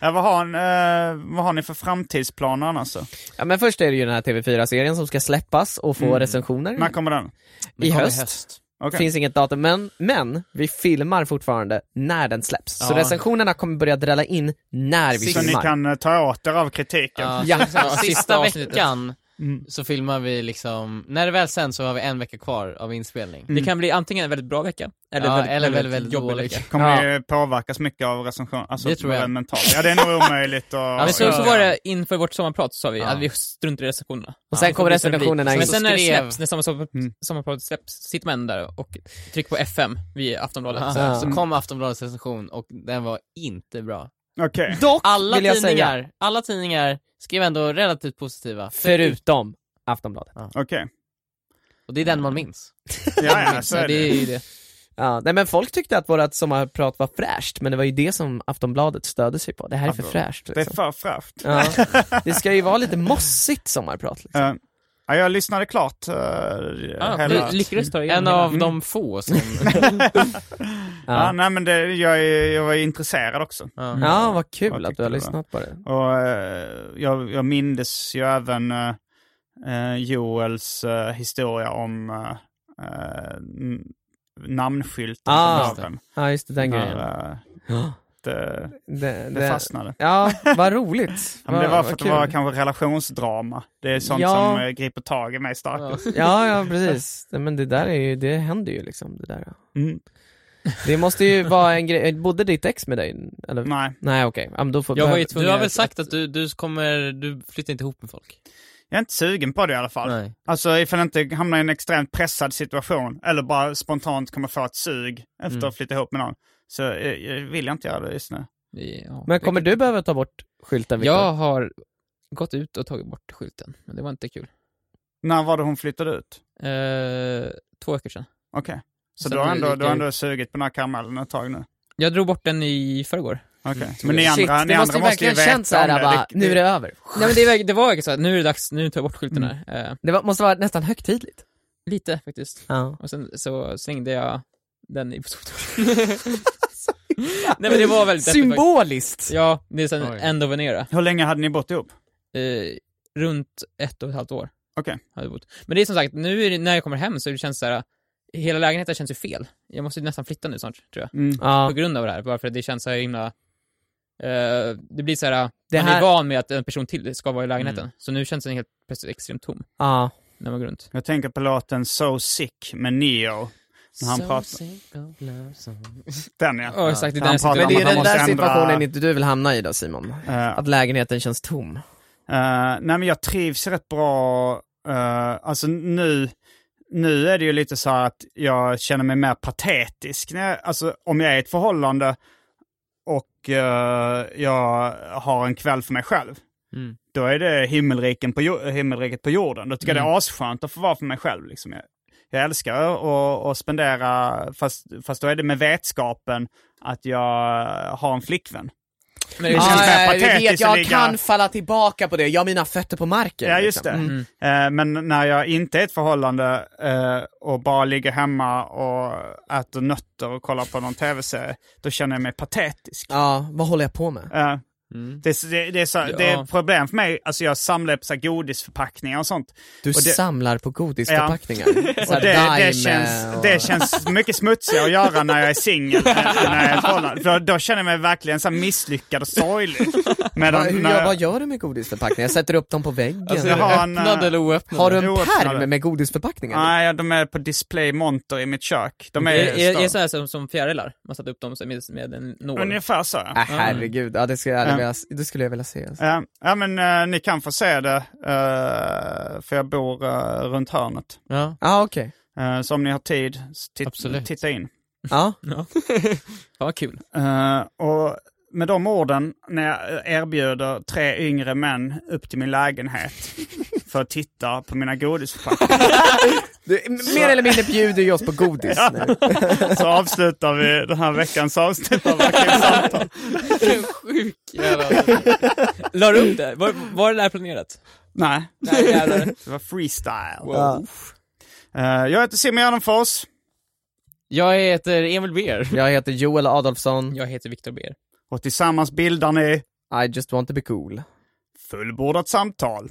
A: Ja, vad, har, ni- eh, vad har ni för framtidsplaner annars? då?
C: ja, men först är det ju den här TV4-serien som ska släppas och
D: Mm.
C: få recensioner.
A: När kommer den?
D: Det
C: i
D: kommer
C: höst.
A: Okej.
C: Finns inget datum, men, men vi filmar fortfarande när den släpps. Så
D: Ja.
C: recensionerna kommer börja drälla in när vi
A: Så ni
C: filmar.
A: kan eh, ta åt er av kritiken.
D: Ja,
C: Ja.
D: sista,
C: Ja,
H: sista
D: sista
H: avsnittet. Mm.
D: veckan så filmar vi liksom, när det väl sen så har vi en vecka kvar av inspelning.
H: Det kan bli antingen en väldigt bra vecka, eller
D: Ja,
H: väldigt,
D: eller väldigt, väldigt
H: jobbig
D: dålig.
H: vecka.
A: Kommer
C: Ja.
A: ni påverkas mycket av recension? Alltså,
D: Det tror jag.
A: rent Mentalt. Ja, det är nog omöjligt att...
H: Men så,
D: ja,
H: så
D: ja.
H: var det inför vårt sommarprat, så sa vi
D: Ja.
H: att vi struntar i recensionerna.
C: Och sen
H: Ja,
C: kommer
H: det får bli som det
C: recensionerna
H: blir.
C: in.
H: Men sen när det
D: Så skrev-
H: släpps, när sommar, sommarpratet släpps, sitter man ändå där och trycker på FM vid Aftonbladet.
D: Ja.
H: Så,
D: Så kom Aftonbladets recension och den var inte bra.
A: Okej.
C: Dock
D: Alla
C: vill jag
D: tidningar,
C: säga,
D: alla tidningar skrev ändå relativt positiva.
H: Förutom Aftonbladet.
A: Okej.
D: Och det är den man minns.
A: Ja, ja, så
H: det
A: är det.
H: är ju det.
C: ja, nej men folk tyckte att vårat sommarprat var fräscht, men det var ju det som Aftonbladet stödde sig på. Det här är för
A: Aftonbladet.
C: fräscht
A: Det är
C: liksom.
A: för fräscht.
C: Ja. Det ska ju vara lite mossigt sommarprat liksom.
A: Eh, ja, jag lyssnade klart eh, hela...
H: Du lyckades ta
D: En
H: igenom
D: av
H: hela.
D: de få
H: Mm.
D: som...
A: Ja, nej men det, jag, är- jag var intresserad också.
C: Ja, vad
A: Vad
C: kul att
A: tyckte
C: du har
A: du då?
C: lyssnat på det.
A: Och eh, jag, jag mindes ju även eh, eh, Joels eh, historia om eh, eh, n- namnskylten
C: Ah,
A: på
C: just
A: dörren.
C: Ja, just det, den
A: När,
C: grejen.
A: eh, det,
C: Det,
A: det fastnade.
C: Ja, vad roligt.
A: Ja, men det
C: Vad-
A: var
C: vad
A: för att det
C: kul.
A: var kanske relationsdrama. Det är sånt
C: Ja.
A: som eh, griper tag i mig starkast.
C: Ja, ja precis. Nej, Men det där är ju, det händer ju liksom det där.
A: Mm.
C: Det måste ju vara en grej, eh, bodde ditt ex med dig? Eller?
A: Nej,
C: Nej okej, ja, men då får
H: Jag var ju
C: behöver-
H: tvungen
D: Du har
H: att-
D: väl sagt att du, du kommer, du flyttar inte ihop med folk?
A: jag är inte sugen på det i alla fall.
D: Nej.
A: Alltså ifall jag inte hamnar i en extremt pressad situation eller bara spontant kommer få ett sug efter
C: Mm.
A: att flytta ihop med någon. Så eh, jag vill jag inte göra det just nu.
H: Ja,
C: Men kommer du behöva ta bort skylten Viktor?
H: Jag har gått ut och tagit bort skylten, men det var inte kul.
A: När var det hon flyttade ut?
H: Eh, två veckor sedan.
A: Okej. Så
H: Så
A: du har
H: det
A: ändå,
H: gick
A: du har
H: ut.
A: ändå sugit på den här karamellen ett tag nu?
H: Jag drog bort den i förrgår.
A: Okej. Men ni
C: Mm. Shit,
A: andra, ni andra
C: det måste ju
A: måste ju
C: verkligen
A: veta om
C: känns såhär
A: det.
C: bara,
A: Rick-
C: nu är det över.
H: Nej men det, var- det var verkligen så här, nu är det dags, nu tar jag bort skylten här. Eh,
C: Det var, måste vara nästan högtidligt.
H: lite faktiskt.
C: Ja.
H: Och sen så slängde jag den i Nej men det var väldigt deppigt faktiskt.
C: Symboliskt!
H: Ja, det är sen
D: Oj.
H: end of an era.
A: Hur länge hade ni bott ihop?
H: Eh, runt ett och ett halvt år.
A: Okej.
H: Har jag bott. Men det är som sagt, nu är det, när jag kommer hem så det känns så här. hela lägenheten känns ju fel. Jag måste ju nästan flytta nu snart, tror jag.
A: Mm.
H: På
C: Ja.
H: grund av det här, bara för att det känns så här himla... eh, det blir så här,
C: Det
H: man
C: här- Mm.
H: är van med att en person till ska vara i lägenheten. Så nu känns den helt plötsligt extremt tom
C: ja.
H: när man går runt.
A: Jag tänker på låten So Sick med Neo. När han pratar... Den ja.
H: Ja, exakt, det är
A: Han
H: den situationen.
A: pratar om
C: Men det är
A: att han
C: den
A: måste
C: där
A: ändra-
C: situationen inte du vill hamna i då Simon?
A: Eh,
C: Att lägenheten känns tom.
A: Eh, nej men jag trivs rätt bra. eh, alltså nu, nu är det ju lite så här att jag känner mig mer patetisk. När jag, alltså om jag är i ett förhållande och eh, jag har en kväll för mig själv. Då är det himmelriken på, jo- himmelriket på jorden. Då tycker jag det är asskönt att få vara för mig själv. Liksom. Jag, jag älskar att- att spendera, fast, fast då är det med vetskapen att jag har en flickvän.
H: Men det
A: Ja,
H: känns-
A: ja, ja, patetiskt
C: du vet,
A: att
C: jag
A: ligga-
C: kan falla tillbaka på det. Jag har mina fötter på marken.
A: Ja,
C: liksom.
A: just det. Eh, Men när jag inte är i ett förhållande eh, och bara ligger hemma och äter nötter och kollar på någon tv-serie, då känner jag mig patetisk.
C: Ja, vad håller jag på med?
A: Eh, Det, det, det, är så, det är ett problem för mig, alltså jag samlar på så här godisförpackningar och sånt.
C: Du
A: Och det-
C: samlar på godisförpackningar. Så
A: Och
C: här
A: det,
C: Daim,
A: det,
C: eh,
A: känns,
C: och-
A: det känns mycket smutsigare att göra när jag är singel än när jag är i ett förhållande. För då känner jag mig verkligen så här misslyckad och sorglig.
C: Vad-
A: Medan
C: hur,
A: när
C: jag, vad
A: jag,
C: gör du med godisförpackningar? Jag sätter upp dem på väggen.
A: jag har en...
D: Öppnad
A: eh,
D: eller oöppnad?
C: har du en
A: oöppnade.
C: pärm med godisförpackningar?
A: Nej, de är på display monter i mitt kök. De är,
H: Är, är, är
A: stora.
H: det så här som, som fjärilar? Man satte upp dem så med, med en nål.
A: Ungefär så. ja.
C: Äh, herregud, ja, det, skulle jag aldrig
A: Ja.
C: vilja, se- det skulle jag vilja se. Alltså.
A: Ja, ja men eh, ni kan få se det, eh, för jag bor eh, runt hörnet.
D: Ja.
C: Ja, okej.
A: Eh, så om ni har tid, så tit-
D: Absolut.
A: titta in.
C: Ja.
H: Fan vad kul.
A: Eh, och med de orden, när jag eh, erbjuder tre yngre män upp till min lägenhet för att titta på mina godisförpackningar,
C: Du, m- mer eller mindre bjuder ju oss på godis nu.
A: så avslutar vi den här veckans avsnitt av Arkivsamtal.
H: Sjuk La du upp det? Var, var det där planerat?
A: Nej,
H: Nej jävlar.
A: det var freestyle.
C: Ja.
A: Eh, jag heter Simon Gärdenfors.
D: Jag heter Emil Beer.
C: Jag heter Joel Adolfsson,
H: Jag heter Viktor Ber.
A: och tillsammans bildar ni
C: I just want to be cool.
A: Fullbordat samtal.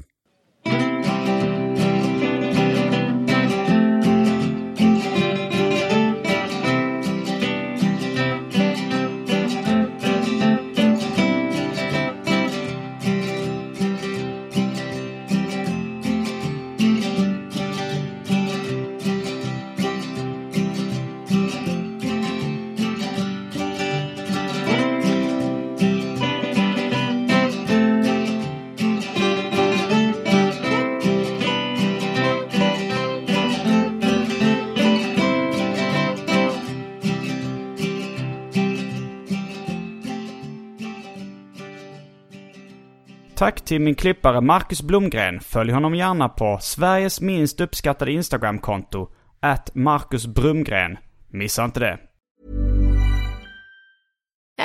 A: Tack till min klippare Marcus Blomgren. Följ honom gärna på Sveriges minst uppskattade Instagramkonto, at Marcus Brumgren. Missa inte det.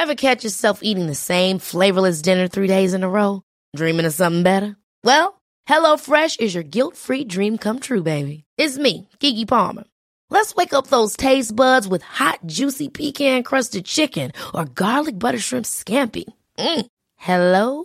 I: Ever catch yourself eating the same flavorless dinner three days in a row? Dreaming of something better? Well, HelloFresh is your guilt free dream come true, baby. It's me, Kiki Palmer. Let's wake up those taste buds with hot, juicy pecan crusted chicken or garlic butter shrimp scampi. Mm. Hello